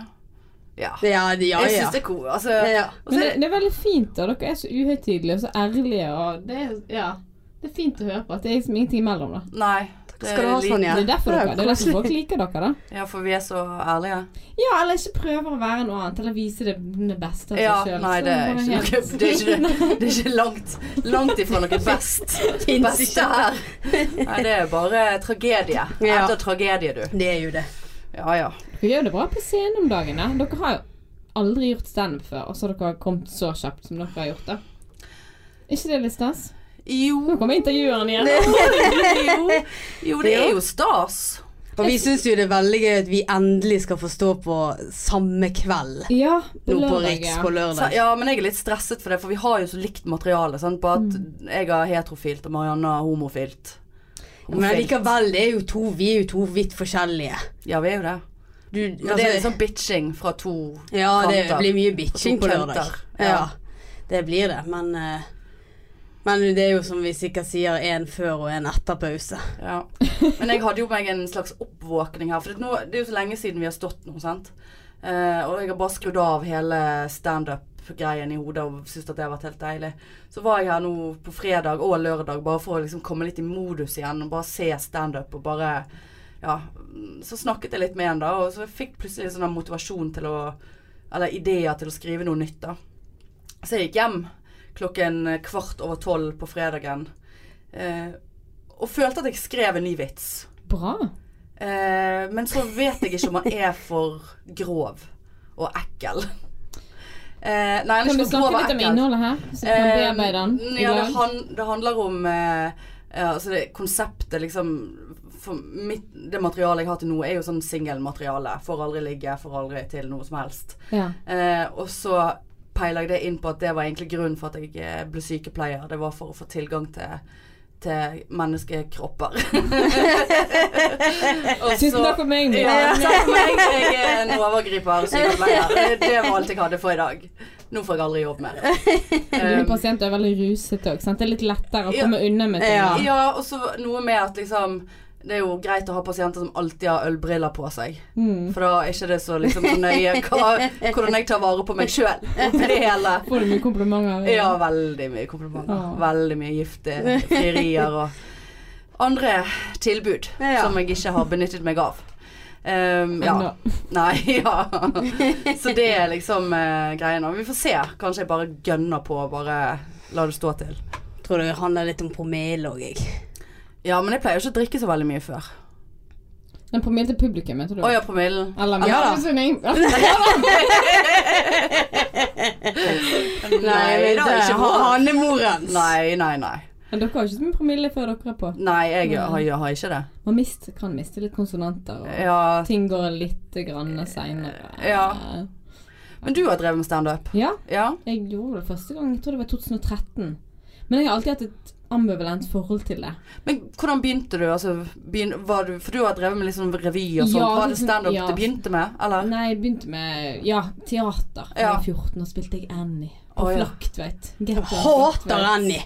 Speaker 1: Ja.
Speaker 2: Ja, det- ja,
Speaker 1: Jeg
Speaker 2: ja.
Speaker 1: syns det er cool. Altså,
Speaker 2: ja.
Speaker 1: og så er
Speaker 3: Men det,
Speaker 1: det-
Speaker 3: det er veldig fint, da. Dere er så uhøytidelige og så ærlige. Og det, er, ja, det er fint å høre på at det er liksom ingenting imellom, da.
Speaker 1: Nei. Det
Speaker 2: skal du ha,
Speaker 1: er litt-
Speaker 2: Sonja. Ja,
Speaker 3: Det er derfor
Speaker 2: det er
Speaker 3: dere, det er derfor
Speaker 2: koselig.
Speaker 3: folk liker dere, da.
Speaker 1: Ja, for vi er så ærlige.
Speaker 3: Ja, eller ikke prøver å være noe annet, eller vise det, det beste av
Speaker 1: Ja,
Speaker 3: seg sjøl.
Speaker 1: nei, det er ikke noe Det er
Speaker 3: <laughs>
Speaker 1: ikke, det er ikke langt, langt ifra noe best.
Speaker 2: <laughs> Finnes
Speaker 1: beste
Speaker 2: ikke.
Speaker 1: her. Nei, det er bare tragedie.
Speaker 2: Ja.
Speaker 1: Etter tragedie, du.
Speaker 2: Det er jo det.
Speaker 1: Ja, ja.
Speaker 3: Dere gjør det bra på scenen om dagene. Dere har jo aldri gjort standup før, og så har dere kommet så kjapt som dere har gjort det. Er ikke det litt stas?
Speaker 1: Jo,
Speaker 3: Nå kommer intervjueren igjen.
Speaker 1: jo, jo det er jo stas.
Speaker 2: Og vi syns jo det er veldig gøy at vi endelig skal få stå på samme kveld.
Speaker 3: Ja, på
Speaker 2: Nå på
Speaker 3: lørdag.
Speaker 2: Riks på
Speaker 3: ja.
Speaker 1: Så,
Speaker 2: lørdag.
Speaker 1: ja, men jeg er litt stresset for det, for vi har jo så likt materiale. Sant? På at
Speaker 2: Mm.
Speaker 1: jeg har heterofilt, og Marianne har homofilt.
Speaker 2: Men
Speaker 1: Homofilt.
Speaker 2: likevel, det er jo to, vi er jo to vidt forskjellige.
Speaker 1: Ja, vi er jo det.
Speaker 2: Du,
Speaker 1: Men det er litt sånn bitching fra to
Speaker 2: Ja, det
Speaker 1: kanter.
Speaker 2: blir mye bitching
Speaker 1: Og
Speaker 2: på
Speaker 1: to
Speaker 2: lørdag.
Speaker 1: kanter. Ja.
Speaker 2: Ja. det blir det. Men, eh, men det er jo som vi sikkert sier, en før og en etter pause.
Speaker 1: Ja. Men jeg hadde jo meg en slags oppvåkning her. For det, nå, det er jo så lenge siden vi har stått nå, sant. Eh, og jeg har bare skrudd av hele standup-greien i hodet og syns at det har vært helt deilig. Så var jeg her nå på fredag og lørdag bare for å liksom komme litt i modus igjen og bare se standup og bare Ja. mm, Så snakket jeg litt med en, da, og så fikk jeg plutselig sånn der motivasjon til å Eller ideer til å skrive noe nytt, da. Så jeg gikk hjem klokken kvart over tolv på fredagen. Eh, og følte at jeg skrev en ny vits.
Speaker 3: Bra.
Speaker 1: Eh, men så vet jeg ikke om han er for grov og ekkel. Eh, nei, han er
Speaker 3: Kan du
Speaker 1: ikke for grov
Speaker 3: snakke
Speaker 1: og
Speaker 3: litt om
Speaker 1: ekkel.
Speaker 3: innholdet her? Så vi kan
Speaker 1: Eh,
Speaker 3: bearbeide den i
Speaker 1: Ja, det,
Speaker 3: lag?
Speaker 1: han, det handler om eh, eh, altså det konseptet liksom for mitt, Det materialet jeg har til nå, er jo sånn singelmateriale. Får aldri ligge, får aldri til noe som helst.
Speaker 3: Ja.
Speaker 1: Eh, og så peiler jeg det inn på at det var egentlig grunnen for at jeg eh, ble sykepleier. Det var for å få tilgang til, til
Speaker 3: <laughs>
Speaker 1: menneskekropper. Og
Speaker 3: Tusen
Speaker 1: så-
Speaker 3: takk for meg. Mia.
Speaker 1: Ja, takk for meg. Jeg er en overgriper sykepleier. Det- Det var alt jeg hadde for i dag. Nå får jeg aldri jobb
Speaker 3: <laughs>
Speaker 1: mer.
Speaker 3: Dine
Speaker 1: Um,
Speaker 3: pasienter er veldig rusete òg, sant. Det er litt lettere å
Speaker 1: Ja.
Speaker 3: komme unna med ting.
Speaker 2: Ja.
Speaker 3: da.
Speaker 1: ja, og så noe med at liksom det er jo greit å ha pasienter som alltid har ølbriller på seg.
Speaker 3: Mm.
Speaker 1: For da er ikke det så liksom så nøye hva, hvordan jeg tar vare på meg sjøl. Det hele.
Speaker 3: Får du mye komplimenter?
Speaker 1: Ja, veldig mye komplimenter.
Speaker 3: Ja.
Speaker 1: Veldig mye gifte frierier og andre tilbud
Speaker 2: Ja.
Speaker 1: som jeg ikke har benyttet meg av. Ehm, ja.
Speaker 3: Ennå.
Speaker 1: Nei, <laughs> ja. Så det er liksom uh, greia nå. Vi får se. Kanskje jeg bare gønner på og bare la det stå til.
Speaker 2: Tror det handler litt om promille òg, jeg.
Speaker 1: Ja, men jeg pleier jo ikke å drikke så veldig mye før.
Speaker 3: Den promillen til publikum, heter du?
Speaker 1: Å ja, promillen.
Speaker 3: Eller
Speaker 2: Ja da.
Speaker 3: misfornøyd?
Speaker 1: <laughs> Nei, da, ikke
Speaker 2: han-
Speaker 1: vår.
Speaker 2: han er morens.
Speaker 1: Nei, nei, nei.
Speaker 3: Men dere har ikke så mye promille før dere er på.
Speaker 1: Nei, jeg har, jeg har ikke det.
Speaker 3: Man mist, kan miste litt konsonanter, og
Speaker 1: Ja.
Speaker 3: ting går litt grann seinere.
Speaker 1: Ja. Men du har drevet med standup?
Speaker 3: Ja,
Speaker 1: Ja?
Speaker 3: jeg gjorde det første gang. Jeg tror det var 2013. Men jeg har alltid hatt et ambivalent forhold til det.
Speaker 1: Men hvordan begynte du? Altså, begyn var du for du har drevet med litt sånn revy og sånt.
Speaker 3: Ja,
Speaker 1: var det
Speaker 3: litt
Speaker 2: liksom,
Speaker 3: sånn-
Speaker 1: standup
Speaker 3: ja.
Speaker 1: det begynte med, eller?
Speaker 3: Nei, jeg begynte med ja, teater. Da jeg
Speaker 1: Ja.
Speaker 3: var 14 og spilte jeg Annie. På
Speaker 1: Å, ja.
Speaker 3: Flaktveit. Get
Speaker 2: Jeg
Speaker 3: out
Speaker 2: hater
Speaker 3: Flaktveit.
Speaker 2: Annie.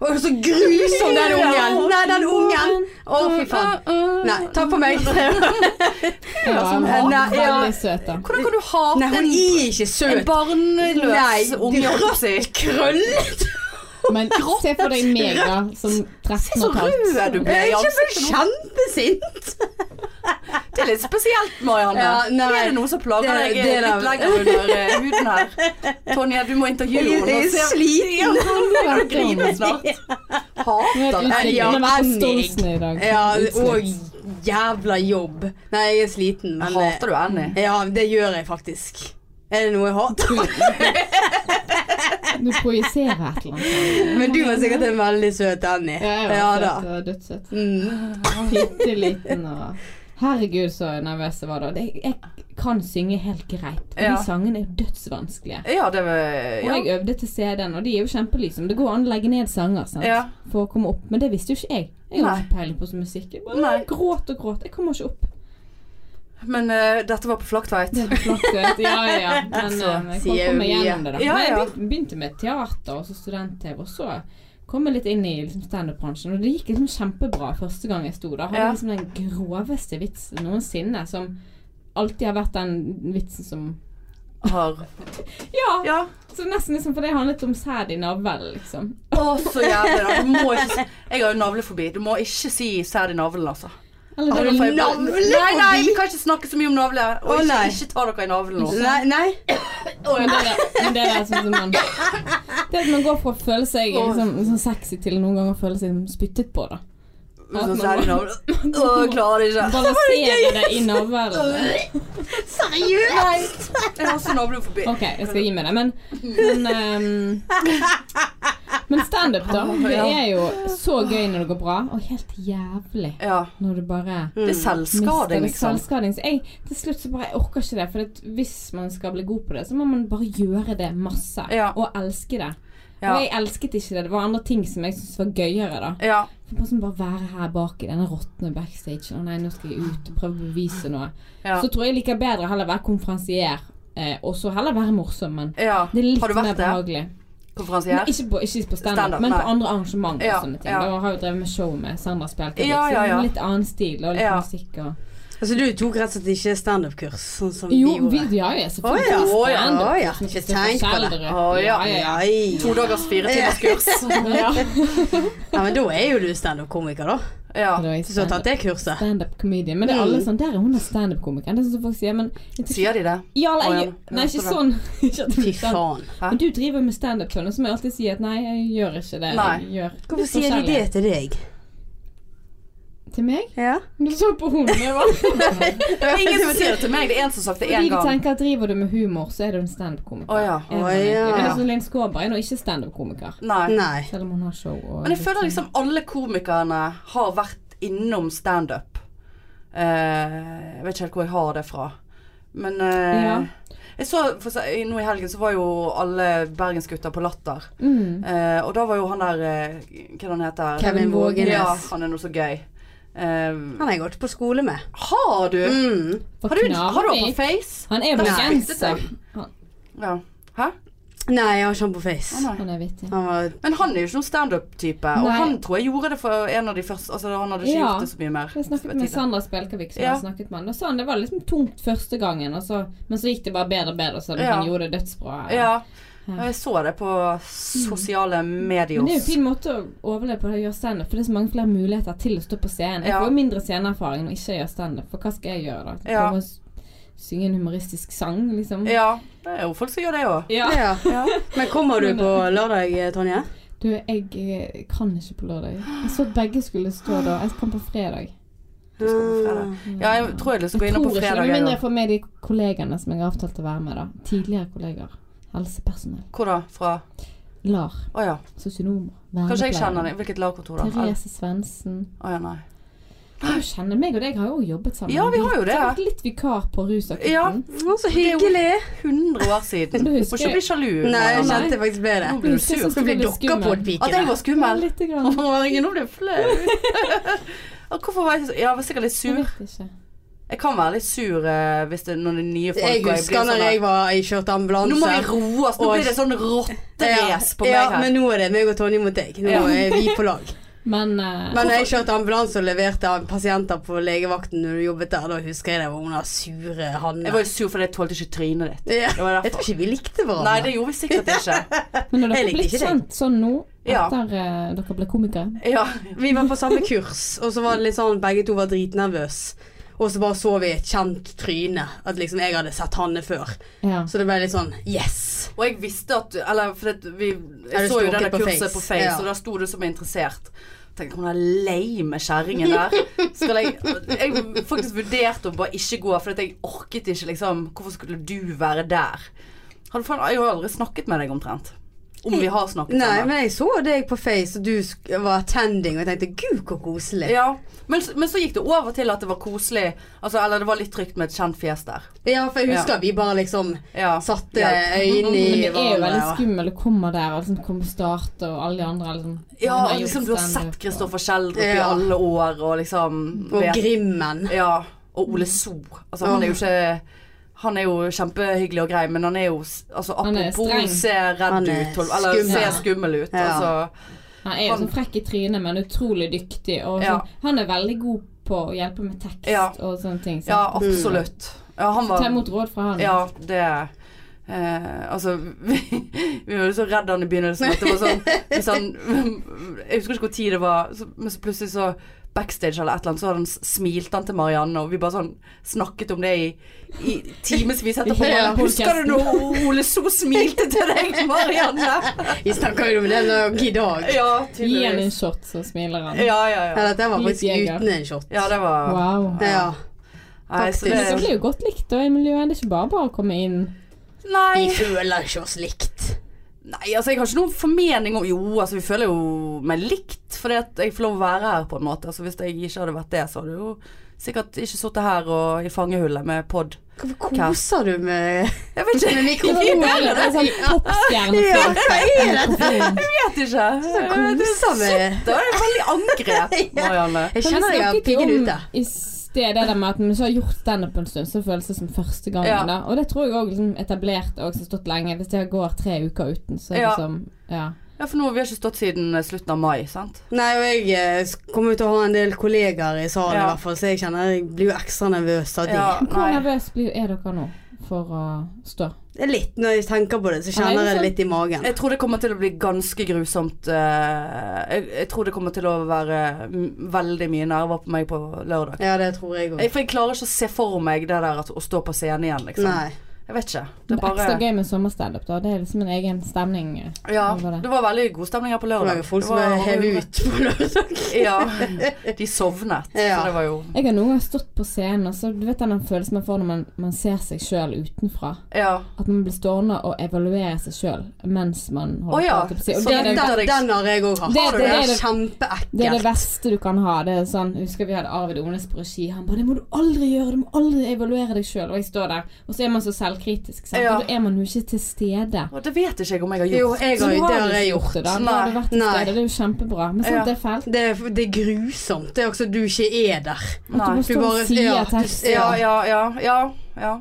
Speaker 2: Å, så grusom den ungen! Nei, den ungen! Å, fy faen. Nei, takk for meg.
Speaker 3: Ja,
Speaker 1: som hat.
Speaker 3: hun var
Speaker 2: altså. Nei, ja.
Speaker 3: veldig søt, da.
Speaker 1: Hvordan kan du hate
Speaker 2: Nei, hun
Speaker 1: en,
Speaker 2: er ikke
Speaker 1: en
Speaker 2: søt.
Speaker 1: barnløs
Speaker 2: Nei,
Speaker 1: unge? holdt på å si?
Speaker 2: Krøllet!
Speaker 3: Men se for deg meg, da, som
Speaker 1: Så
Speaker 3: 13 og et halvt.
Speaker 1: rød du ble i
Speaker 2: Jeg er
Speaker 1: ansiktet.
Speaker 2: kjempesint!
Speaker 1: Det Det er litt spesielt, Marianne.
Speaker 2: Ja,
Speaker 1: er
Speaker 2: nei.
Speaker 1: det noe som plager deg
Speaker 2: Det- det er
Speaker 1: litt
Speaker 2: det.
Speaker 1: lenger under eh, huden her? Tonje,
Speaker 2: <laughs>
Speaker 1: du må intervjue
Speaker 2: Jeg-
Speaker 1: henne.
Speaker 2: jeg er
Speaker 1: og se-
Speaker 2: sliten.
Speaker 1: Ja, Tonje begynner å grine
Speaker 2: <laughs>
Speaker 1: snart.
Speaker 3: Hun
Speaker 1: Hater det.
Speaker 3: har
Speaker 2: Ja,
Speaker 3: vært på
Speaker 2: Annik.
Speaker 3: Stolsny i dag.
Speaker 2: Ja, og
Speaker 3: Utslitt.
Speaker 2: jævla jobb. Nei, jeg er sliten, men
Speaker 1: Hater du Annie?
Speaker 2: Ja, det gjør jeg faktisk. Er det noe jeg hater? <laughs>
Speaker 3: Du projiserer et eller annet.
Speaker 2: Men du var sikkert en veldig søt Annie.
Speaker 3: Ja, jeg var
Speaker 2: Ja da.
Speaker 3: søt og dødssøt.
Speaker 2: Mm.
Speaker 3: Bitte liten og Herregud, så nervøs jeg var da. Det- Jeg kan synge helt greit. Og
Speaker 1: Ja.
Speaker 3: de sangene er jo dødsvanskelige.
Speaker 1: Ja, det var
Speaker 3: Og
Speaker 1: ja.
Speaker 3: jeg øvde til CD-en, og de er jo kjempelyse. Men det går an å legge ned sanger sant?
Speaker 1: Ja.
Speaker 3: for å komme opp. Men det visste jo ikke jeg. Jeg hadde
Speaker 1: Nei.
Speaker 3: ikke peiling på så musikk. Jeg bare
Speaker 1: Nei.
Speaker 3: gråt og gråt. Jeg kommer ikke opp.
Speaker 1: Men eh, dette var på Flaktveit.
Speaker 3: Det er flott, du vet. Ja, ja, ja. Men
Speaker 2: Så
Speaker 3: eh, jeg kom,
Speaker 2: sier vi
Speaker 3: kom meg gjennom det, da.
Speaker 1: ja,
Speaker 3: Nei, jeg
Speaker 1: ja.
Speaker 3: begynte, begynte med teater og så student-TV, og så kom jeg litt inn i liksom, standup-bransjen. Og det gikk liksom kjempebra første gang jeg sto der. Hadde
Speaker 1: Ja.
Speaker 3: liksom den groveste vitsen noensinne, som alltid har vært den vitsen som
Speaker 1: Har.
Speaker 3: Ja!
Speaker 1: Ja.
Speaker 3: Så nesten liksom, for det handlet om sæd i navlen, liksom.
Speaker 1: Å, så jævlig. da. Du må ikke si Jeg har jo navlefobi. Du må ikke si sæd i navlen, altså.
Speaker 3: Eller
Speaker 1: Har
Speaker 3: det
Speaker 1: du
Speaker 3: var
Speaker 1: fått-
Speaker 2: navlefobi?
Speaker 1: Nei, nei, vi kan ikke snakke så mye om navler. Og
Speaker 2: Å,
Speaker 1: ikke,
Speaker 2: nei.
Speaker 1: ikke ta dere i navlen altså. nå.
Speaker 2: Nei, nei.
Speaker 3: men det, er- men det er sånn som man Det at man går fra å føle seg liksom, sånn sexy til noen ganger å føle seg spyttet på, da.
Speaker 1: Sånn sæd i navlen. Å, klarer det ikke.
Speaker 3: Balansere det i navlen.
Speaker 2: Seriøst?
Speaker 1: Jeg har også navlefobi.
Speaker 3: Ok, jeg skal gi meg det, men Men, ehm, men standup, da. Det er jo så gøy når det går bra, og helt jævlig
Speaker 1: Ja.
Speaker 3: når du bare
Speaker 1: Det er
Speaker 3: mister
Speaker 1: selvskading,
Speaker 3: det
Speaker 1: liksom.
Speaker 3: selvskading. Så jeg, til slutt så bare Jeg orker ikke det. For at hvis man skal bli god på det, så må man bare gjøre det masse.
Speaker 1: Ja.
Speaker 3: Og elske det.
Speaker 1: Ja.
Speaker 3: Og jeg elsket ikke det. Det var andre ting som jeg syntes var gøyere, da.
Speaker 1: Ja.
Speaker 3: For bare, sånn, bare være her bak i denne råtne backstagen. Å nei, nå skal jeg ut og prøve å bevise noe.
Speaker 1: Ja.
Speaker 3: Så tror jeg liker bedre heller være konferansier, eh, og så heller være morsom, men
Speaker 1: ja.
Speaker 3: det er litt
Speaker 1: Har du
Speaker 3: mer
Speaker 1: vært det?
Speaker 3: behagelig.
Speaker 1: Konferansier?
Speaker 3: Ikke på, ikke på standup,
Speaker 1: Stand-up,
Speaker 3: men på
Speaker 1: nei.
Speaker 3: andre arrangement og
Speaker 1: Ja,
Speaker 3: sånne ting.
Speaker 1: ja.
Speaker 3: Da har jo drevet med show med Sandra Spjelkavik,
Speaker 1: Ja, ja,
Speaker 3: så
Speaker 1: ja.
Speaker 3: en litt annen stil og litt
Speaker 1: Ja.
Speaker 3: musikk og
Speaker 2: Altså, du tok rett og slett ikke standup-kurs, sånn som
Speaker 3: Jo,
Speaker 2: vi
Speaker 3: vi
Speaker 2: gjorde.
Speaker 3: ja, ja, selvfølgelig.
Speaker 2: Å, ja.
Speaker 3: Stand-up,
Speaker 2: Å, ja, å, ja.
Speaker 3: som
Speaker 2: Ikke
Speaker 3: Kristoffer
Speaker 2: tenk på det.
Speaker 3: Kjelderud.
Speaker 1: Å, ja.
Speaker 3: ja, ja.
Speaker 2: Nei.
Speaker 1: To dagers fire timers
Speaker 3: <laughs>
Speaker 1: kurs.
Speaker 3: ja.
Speaker 2: Ja, men da er jo du standup-komiker, da.
Speaker 3: <laughs>
Speaker 1: Ja.
Speaker 3: Det var i
Speaker 2: Hvis du har tatt det kurset.
Speaker 3: Standup comedian. Men det er alle sånn Der er hun er standup-komikeren. Det er sånn folk sier, men jeg tror ikke-
Speaker 1: Sier de det?
Speaker 3: Ja, eller
Speaker 1: Å, ja.
Speaker 3: jeg,
Speaker 1: Ja,
Speaker 3: Nei, ikke
Speaker 1: så bra.
Speaker 3: sånn. <laughs> Ikke at
Speaker 2: Fy
Speaker 3: jeg-
Speaker 2: faen.
Speaker 3: Men du driver med standup-tønne, så må jeg alltid si at nei, jeg gjør ikke det.
Speaker 1: Nei.
Speaker 3: Jeg gjør
Speaker 2: Hvorfor sier de det til deg?
Speaker 3: Til meg?
Speaker 2: Ja.
Speaker 3: Du så på henne. jeg var-
Speaker 1: Det er ingen som <laughs> sier det til meg. Det er en som har sagt det
Speaker 3: Fordi
Speaker 1: én
Speaker 3: de
Speaker 1: gang.
Speaker 3: tenker at driver du med humor, så er du en standup-komiker.
Speaker 1: Å ja.
Speaker 3: Er det
Speaker 2: Å,
Speaker 3: egentlig?
Speaker 2: ja.
Speaker 3: Men det er sånn Linn Skåber er nå ikke standup-komiker.
Speaker 1: Nei.
Speaker 2: Nei.
Speaker 3: Selv om hun har show og
Speaker 1: Men jeg føler liksom alle komikerne har vært innom standup. Eh, jeg vet ikke helt hvor jeg har det fra. Men eh,
Speaker 3: Ja.
Speaker 1: jeg så, for, å si- nå i helgen så var jo alle bergensgutter på Latter.
Speaker 3: mm.
Speaker 1: Eh, og da var jo han der eh, Hva er det han heter?
Speaker 2: Kevin Vågenes.
Speaker 1: Ja, han er nå så gøy. Eh,
Speaker 2: Han har jeg gått på skole med.
Speaker 1: har du
Speaker 2: Mm.
Speaker 3: For
Speaker 1: Har du, har du han på
Speaker 3: Knarvik.
Speaker 1: face?
Speaker 3: Han er
Speaker 1: Nei.
Speaker 3: bergenser. Han,
Speaker 1: Ja. Hæ?
Speaker 2: Nei, jeg har ikke han på face.
Speaker 1: Å, nei.
Speaker 3: han er vittig.
Speaker 2: Han var
Speaker 1: Men han er jo ikke noen standup-type. Og
Speaker 3: Nei.
Speaker 1: han tror jeg gjorde det for en av de første Altså han hadde ikke gjort
Speaker 3: Ja.
Speaker 1: det så mye mer.
Speaker 3: Jeg snakket med Sandra Spjelkavik, som
Speaker 1: Ja.
Speaker 3: jeg snakket med han. Da sa han det var liksom tungt første gangen, og så, men så gikk det bare bedre og bedre, så
Speaker 1: Ja.
Speaker 3: han gjorde det dødsbra.
Speaker 1: Ja. Og Jeg så det på sosiale medier.
Speaker 3: Men det er jo en fin måte å overleve på det å gjøre standup, for det er så mange flere muligheter til å stå på scenen. Jeg
Speaker 1: Ja.
Speaker 3: får jo mindre sceneerfaring når jeg ikke gjør standup, for hva skal jeg gjøre da?
Speaker 1: Ja.
Speaker 3: Komme og s- synge en humoristisk sang, liksom?
Speaker 1: Ja, det er jo folk som gjør det òg.
Speaker 3: Ja.
Speaker 2: ja.
Speaker 1: Ja.
Speaker 2: Men kommer du på lørdag, Tonje?
Speaker 3: Du, jeg eh, kan ikke på lørdag. Jeg så at begge skulle stå da. Jeg kan på fredag.
Speaker 1: Du skal på fredag.
Speaker 2: Ah.
Speaker 1: Ja, jeg tror jeg har lyst til å gå
Speaker 3: Jeg
Speaker 1: inn
Speaker 3: tror
Speaker 1: på
Speaker 3: ikke,
Speaker 1: fredag.
Speaker 3: med
Speaker 1: jeg,
Speaker 3: mindre jeg får med de kollegene som jeg har avtalt å være med, da. Tidligere kolleger. Helsepersonell.
Speaker 1: da. Hvor da? Fra
Speaker 3: LAR.
Speaker 1: Å ja.
Speaker 3: Sosionomer.
Speaker 1: Kanskje jeg
Speaker 3: vernepleiere.
Speaker 1: kjenner det. Hvilket lagkontor da? Eller-
Speaker 3: Therese Svendsen.
Speaker 1: Å ja, nei.
Speaker 3: Du kjenner meg og deg, har jo også jobbet sammen.
Speaker 1: Ja, vi har jo det.
Speaker 3: har vært litt vikar på rusakutten.
Speaker 1: Ja.
Speaker 2: Å, så
Speaker 1: er jo-
Speaker 2: hyggelig.
Speaker 1: 100 år siden.
Speaker 3: Men du
Speaker 1: Du
Speaker 3: husker
Speaker 1: får ikke bli sjalu.
Speaker 2: Nei, jeg
Speaker 1: Marianne.
Speaker 2: kjente faktisk ble det.
Speaker 1: Nå blir du sur.
Speaker 2: Så blir dere på et
Speaker 1: At jeg var
Speaker 3: Ja,
Speaker 1: skummel.
Speaker 3: lite
Speaker 1: Å,
Speaker 3: grann.
Speaker 1: Herregud, nå ble jeg flau. Og Hvorfor var jeg så Ja, jeg var sikkert litt sur.
Speaker 3: Jeg vet ikke.
Speaker 1: Jeg kan være litt sur eh, hvis det er noen nye folk
Speaker 2: Jeg
Speaker 1: og
Speaker 2: husker
Speaker 1: sånn
Speaker 2: når
Speaker 1: der,
Speaker 2: jeg var jeg kjørte ambulanse.
Speaker 1: Nå må vi roe oss. Nå
Speaker 2: Og-
Speaker 1: blir det sånn rotterace på meg
Speaker 2: ja,
Speaker 1: her.
Speaker 2: men nå er det meg og Tonje mot deg. Nå
Speaker 1: Ja.
Speaker 2: er vi på
Speaker 1: <laughs>
Speaker 2: lag.
Speaker 3: Men, eh,
Speaker 2: Men jeg kjørte ambulanse og leverte av pasienter på legevakten når du jobbet der. Da husker jeg det var hun der sure
Speaker 1: Jeg
Speaker 2: Hanne.
Speaker 1: var jo sur fordi jeg tålte ikke trynet ditt.
Speaker 2: Ja.
Speaker 1: Det var
Speaker 2: Jeg
Speaker 1: derfor.
Speaker 2: tror ikke vi likte
Speaker 1: Nei,
Speaker 2: hverandre.
Speaker 1: det gjorde vi sikkert
Speaker 2: <laughs>
Speaker 1: ikke.
Speaker 3: men når
Speaker 2: jeg
Speaker 3: dere
Speaker 2: likte
Speaker 3: ble
Speaker 2: ikke deg.
Speaker 3: kjent sånn nå,
Speaker 1: Ja.
Speaker 3: etter eh, dere ble komikere
Speaker 1: Ja.
Speaker 2: Vi var på samme kurs, og så var det litt sånn begge to var dritnervøse. Og så bare så vi et kjent tryne. At liksom jeg hadde sett Hanne før.
Speaker 3: Ja.
Speaker 2: Så det ble litt sånn yes.
Speaker 1: Og jeg visste at Eller for det, vi,
Speaker 2: Ja,
Speaker 1: jeg
Speaker 2: det
Speaker 1: så jo
Speaker 2: sto
Speaker 1: denne
Speaker 2: ikke på
Speaker 1: kurset
Speaker 2: Face.
Speaker 1: på Face,
Speaker 2: Ja.
Speaker 1: og da sto du som er interessert. Tenkte hun er lei med kjerringen der. Skal jeg Jeg faktisk vurderte å bare ikke gå, for at jeg orket ikke, liksom. Hvorfor skulle du være der? Hadde faen, jeg har jo aldri snakket med deg omtrent. Om vi har snakket
Speaker 2: Nei,
Speaker 1: sammen.
Speaker 2: men jeg så deg på Face, og du sk- var attending, og jeg tenkte gud, hvor koselig.
Speaker 1: Ja, men, s- men så gikk det over til at det var koselig. Altså, eller det var litt trygt med et kjent fjes der.
Speaker 2: Ja, for jeg husker vi bare liksom
Speaker 1: Ja.
Speaker 2: satte
Speaker 1: Ja.
Speaker 2: øynene
Speaker 3: Men
Speaker 2: i
Speaker 3: det er jo veldig
Speaker 2: og-
Speaker 3: skummelt å komme der og liksom komme start og alle de andre eller sånn.
Speaker 1: Ja,
Speaker 3: Han har
Speaker 1: og liksom
Speaker 3: gjort
Speaker 1: du har sett
Speaker 3: standup, og-
Speaker 1: Kristoffer Schjelderup i
Speaker 2: Ja.
Speaker 1: alle år, og liksom
Speaker 2: Og
Speaker 1: vet-
Speaker 2: Grimmen.
Speaker 1: Ja, og Ole So. Altså, han er jo ikke Han er jo kjempehyggelig og grei, men han er jo s- altså,
Speaker 3: Han er streng.
Speaker 1: Apropos se
Speaker 2: Han
Speaker 1: redd
Speaker 2: er
Speaker 1: ut, tol- eller
Speaker 2: skummel.
Speaker 1: se skummel ut.
Speaker 2: Ja.
Speaker 1: Altså,
Speaker 3: Han er jo sånn frekk i trynet, men utrolig dyktig. Og
Speaker 1: Ja.
Speaker 3: sånn, han er veldig god på å hjelpe med tekst
Speaker 1: Ja.
Speaker 3: og sånne ting. Så
Speaker 1: ja, absolutt.
Speaker 2: Mm.
Speaker 1: Ja, han
Speaker 3: ta
Speaker 1: var
Speaker 3: imot råd fra han.
Speaker 1: Ja, det Eh, altså, <laughs> vi, vi var jo så redde han i begynnelsen at det var sånn, hvis han, Jeg husker ikke hvor tid det var, så, men så plutselig så backstage eller et eller annet, så hadde han s- smilte han til Marianne, og vi bare sånn snakket om det i, i timevis etterpå.
Speaker 3: Ja,
Speaker 1: Bare, Husker du når Ole So smilte til deg, Marianne?
Speaker 2: Vi snakka jo om det nå i dag.
Speaker 1: Ja,
Speaker 3: Gi han en
Speaker 1: tydeligvis.
Speaker 3: shot, så smiler han.
Speaker 1: Ja, ja,
Speaker 2: Ja,
Speaker 1: ja.
Speaker 2: dette var faktisk
Speaker 3: Lysjeger.
Speaker 2: uten en shot.
Speaker 1: Ja, det var
Speaker 3: Wow.
Speaker 2: Ja.
Speaker 1: Nei, så
Speaker 3: Men dere
Speaker 1: det,
Speaker 3: blir jo godt likt da, i miljøet. Det er ikke bare bare å komme inn.
Speaker 1: nei.
Speaker 2: Vi føler ikke oss likt.
Speaker 1: Nei, altså jeg har ikke noen formening om Jo, altså vi føler jo meg likt fordi at jeg får lov å være her på en måte. Altså Hvis jeg ikke hadde vært det, så hadde jeg jo sikkert ikke sittet her og i fangehullet med pod.
Speaker 2: Hvorfor koser du med
Speaker 1: Jeg vet <laughs> ikke.
Speaker 2: Med mikrofonen,
Speaker 1: Jeg
Speaker 3: Det
Speaker 1: vet
Speaker 3: er sånn
Speaker 1: <laughs>
Speaker 2: Ja,
Speaker 3: popstjerne.
Speaker 2: hva er dette?
Speaker 1: ikke. Jeg vet ikke.
Speaker 2: Koser med
Speaker 1: Det var et veldig angrep, <laughs> Marianne.
Speaker 2: Jeg
Speaker 3: Men
Speaker 2: kjenner jeg
Speaker 3: vi
Speaker 2: har
Speaker 3: snakket jo
Speaker 2: piggen
Speaker 3: om
Speaker 2: ute.
Speaker 3: I sted det der med at vi så har gjort standup en stund, så føles det som første gangen.
Speaker 1: Ja.
Speaker 3: da. Og det tror jeg òg liksom, etablert og som har stått lenge. Hvis jeg går tre uker uten, så
Speaker 1: Ja.
Speaker 3: liksom Ja.
Speaker 1: Ja, for nå har vi ikke stått siden eh, slutten av mai, sant?
Speaker 2: Nei, og jeg eh, kommer til å ha en del kollegaer i salen i
Speaker 1: Ja.
Speaker 2: hvert fall, så jeg kjenner jeg blir jo ekstra nervøs av de.
Speaker 1: Ja,
Speaker 3: Hvor
Speaker 1: nei.
Speaker 3: nervøs blir, er dere nå for å stå?
Speaker 2: Det er Litt, når jeg tenker på det, så
Speaker 3: Ja, det
Speaker 2: kjenner
Speaker 3: er
Speaker 2: jeg det
Speaker 3: sånn-
Speaker 2: litt i magen.
Speaker 1: Jeg tror det kommer til å bli ganske grusomt. eh, Jeg, jeg tror det kommer til å være mm, veldig mye nerver på meg på lørdag.
Speaker 2: Ja, det tror jeg sånn- òg.
Speaker 1: Jeg, for jeg klarer ikke å se for meg det der at, å stå på scenen igjen, liksom.
Speaker 2: Nei.
Speaker 1: Jeg vet ikke.
Speaker 3: Det
Speaker 1: Det
Speaker 3: er
Speaker 1: bare
Speaker 3: ekstra gøy med sommerstandup. da. Det er liksom en egen stemning. eh.
Speaker 1: Ja,
Speaker 3: Det var det.
Speaker 1: det var veldig god stemning her på
Speaker 2: Det
Speaker 1: lørdag.
Speaker 2: var jo folk
Speaker 1: Det
Speaker 2: som
Speaker 1: var-
Speaker 2: ble hevet ut på <laughs> lørdag. <laughs>
Speaker 1: Ja. De sovnet.
Speaker 2: Ja.
Speaker 1: Så det var jo
Speaker 3: Jeg har noen ganger stått på scenen, og så du vet den følelsen man får når man, man ser seg sjøl utenfra.
Speaker 1: Ja.
Speaker 3: At man blir stående og evaluere seg sjøl mens man holder
Speaker 1: Å ja,
Speaker 3: på. holdt jeg på å si. Og
Speaker 1: så
Speaker 3: det, er
Speaker 1: det-
Speaker 3: det,
Speaker 2: Sånn, Den, den har jeg òg hatt.
Speaker 3: Det-
Speaker 2: Det,
Speaker 3: det- det-
Speaker 2: er
Speaker 3: det-
Speaker 2: kjempeekkelt.
Speaker 3: det er det verste du kan ha. Det er sånn, jeg husker Vi hadde Arvid Ones på regi. Han bare 'Det må du aldri gjøre! Du må aldri evaluere deg sjøl!' Og jeg står der. Og så er man så selvkritisk, sant?
Speaker 1: Ja.
Speaker 3: og da er man jo ikke til stede.
Speaker 1: Og det vet ikke jeg om jeg har gjort.
Speaker 2: Jo, jeg
Speaker 3: Så
Speaker 2: har,
Speaker 3: nå
Speaker 2: det
Speaker 3: du
Speaker 2: har
Speaker 3: ikke
Speaker 2: jeg gjort.
Speaker 3: det, da. Nå har du vært til
Speaker 2: Nei.
Speaker 3: stede. Det er jo kjempebra. Men sant,
Speaker 1: Ja.
Speaker 3: det er fælt.
Speaker 2: Det er, det er grusomt. Det er også at du ikke er der.
Speaker 3: At du
Speaker 1: Nei.
Speaker 3: må
Speaker 2: du
Speaker 3: stå
Speaker 2: bare-
Speaker 3: og si
Speaker 2: ja,
Speaker 3: at
Speaker 2: du-
Speaker 3: tekst-
Speaker 1: Ja, ja, ja. ja, ja.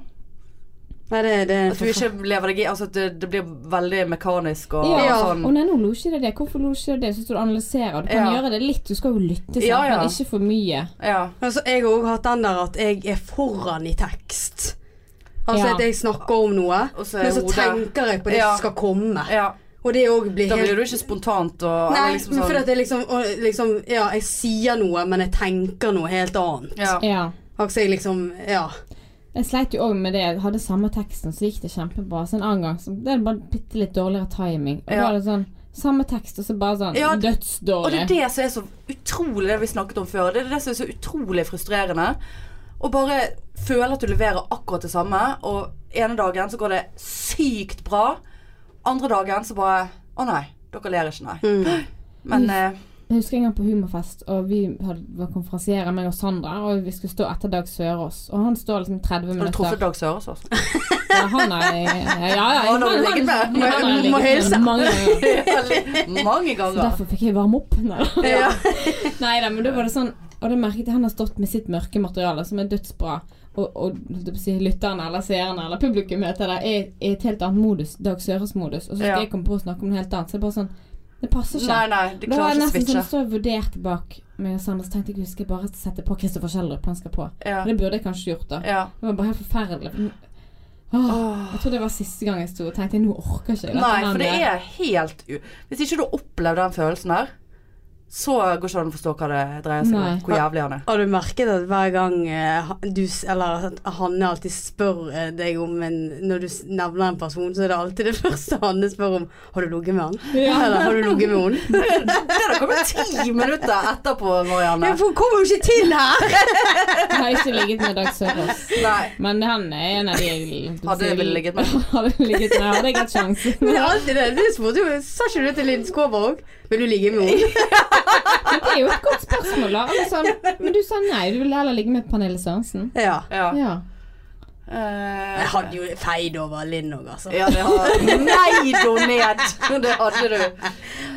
Speaker 2: Nei, det, det er
Speaker 1: At du ikke lever deg i Altså at det, det blir veldig mekanisk og
Speaker 3: Ja.
Speaker 1: sånn.
Speaker 3: Å nei, nå lo ikke det det. Hvorfor lo ikke det det? Så skal du analysere. og Du kan
Speaker 1: Ja.
Speaker 3: gjøre det litt. Du skal jo lytte, sant?
Speaker 1: Ja, ja.
Speaker 3: men ikke for mye.
Speaker 1: Ja.
Speaker 2: Altså, jeg har òg hatt den der at jeg er foran i tekst. Altså
Speaker 3: Ja.
Speaker 2: at jeg snakker om noe,
Speaker 1: Og så er
Speaker 2: men så
Speaker 1: hodet-
Speaker 2: tenker jeg på det
Speaker 1: Ja.
Speaker 2: som skal komme.
Speaker 1: ja.
Speaker 2: Og det òg blir
Speaker 1: Da blir
Speaker 2: helt
Speaker 1: du ikke spontant og
Speaker 2: Nei,
Speaker 1: eller liksom
Speaker 2: men
Speaker 1: sånn
Speaker 2: fordi at jeg liksom, og liksom Ja, jeg sier noe, men jeg tenker noe helt annet.
Speaker 1: ja.
Speaker 3: Ja.
Speaker 2: Altså, jeg liksom Ja.
Speaker 3: Jeg sleit jo òg med det. Jeg hadde samme teksten, så gikk det kjempebra. Så en annen gang så det er det bare bitte litt dårligere timing. Og
Speaker 1: Ja.
Speaker 3: da er det sånn Samme tekst, og så bare sånn
Speaker 1: Ja, Og det
Speaker 3: dødsdårlig.
Speaker 1: er det som er så utrolig det vi snakket om før. Det er det som er så utrolig frustrerende. Å bare føle at du leverer akkurat det samme, og ene dagen så går det sykt bra. Andre dagen så bare Å nei, dere ler ikke, nei.
Speaker 2: Mm.
Speaker 1: Men eh,
Speaker 3: Jeg husker en gang på humorfest, og vi hadde, var konferansierer, meg og Sandra, og vi skulle stå etter Dag Sørås. Og han står liksom 30
Speaker 1: har du
Speaker 3: minutter
Speaker 1: truffet Dag Sørås altså.
Speaker 3: <laughs>
Speaker 1: også?
Speaker 3: Ja, han er Ja, ja. ja
Speaker 1: Han har du ligget med.
Speaker 3: han har jeg
Speaker 2: Må-
Speaker 3: ligget
Speaker 2: må
Speaker 3: med
Speaker 2: hilse.
Speaker 3: Mange ganger.
Speaker 1: <laughs> Mange
Speaker 3: Så
Speaker 1: ganger.
Speaker 3: derfor fikk jeg varme opp. Nei.
Speaker 1: Ja.
Speaker 3: Nei da, men da var det sånn Og da merket jeg han har stått med sitt mørke materiale, som er dødsbra. Og, og holdt jeg på å si, lytterne eller seerne eller publikum heter det, er i et helt annet modus. Dag Søres-modus. Og så skal
Speaker 1: Ja.
Speaker 3: jeg komme på å snakke om noe helt annet. Så det er bare sånn Det passer ikke.
Speaker 1: Nei, nei, de
Speaker 3: da var
Speaker 1: klarer ikke
Speaker 3: jeg
Speaker 1: å
Speaker 3: nesten sånn
Speaker 1: switche.
Speaker 3: så vurdert bak meg og Sander, så tenkte jeg husker jeg bare sette på Kristoffer Schjelderup han skal på.
Speaker 1: Ja.
Speaker 3: Og det burde jeg kanskje gjort, da.
Speaker 1: Ja.
Speaker 3: Det var bare helt forferdelig. Åh, jeg tror det var siste gang jeg sto og tenkte nå orker ikke jeg dette
Speaker 1: Nei,
Speaker 3: her
Speaker 1: for det
Speaker 3: mer.
Speaker 1: er helt u... Hvis ikke du har opplevd den følelsen her, så går ikke an å forstå hva det dreier seg
Speaker 3: Nei.
Speaker 1: om. Hvor jævlig han er.
Speaker 2: Har du merket at hver gang eh, ha- du s- Eller at Hanne alltid spør eh, deg om en Når du s- nevner en person, så er det alltid det <laughs> første Hanne spør om Har du ligget med han?
Speaker 3: Ja.
Speaker 2: Eller har du ligget med <laughs> hun?
Speaker 1: Det der kommer ti minutter etterpå,
Speaker 2: Ja,
Speaker 1: Marianne.
Speaker 2: for hun kommer jo ikke til <laughs> her!
Speaker 3: Jeg har ikke ligget med Dag Sørås.
Speaker 1: Nei.
Speaker 3: Men han er en av de jeg liksom
Speaker 1: Hadde jeg vel
Speaker 3: <laughs>
Speaker 1: ligget med?
Speaker 3: Hadde jeg ligget med, hadde jeg hatt
Speaker 2: <laughs>
Speaker 3: sjansen.
Speaker 2: Men det er alltid det. Du spurte jo Sa ikke du til Linn Skåber òg? Vil du ligge med henne?
Speaker 3: Men det er jo et godt spørsmål, da. Eller sånn, men du sa nei, du ville heller ligge med Pernille Sørensen.
Speaker 2: <laughs> Ja.
Speaker 1: Ja.
Speaker 3: Ja.
Speaker 1: Eh,
Speaker 2: Jeg hadde jo feid over Linn òg, altså.
Speaker 1: ja, det har Nei, do ned! Det hadde du.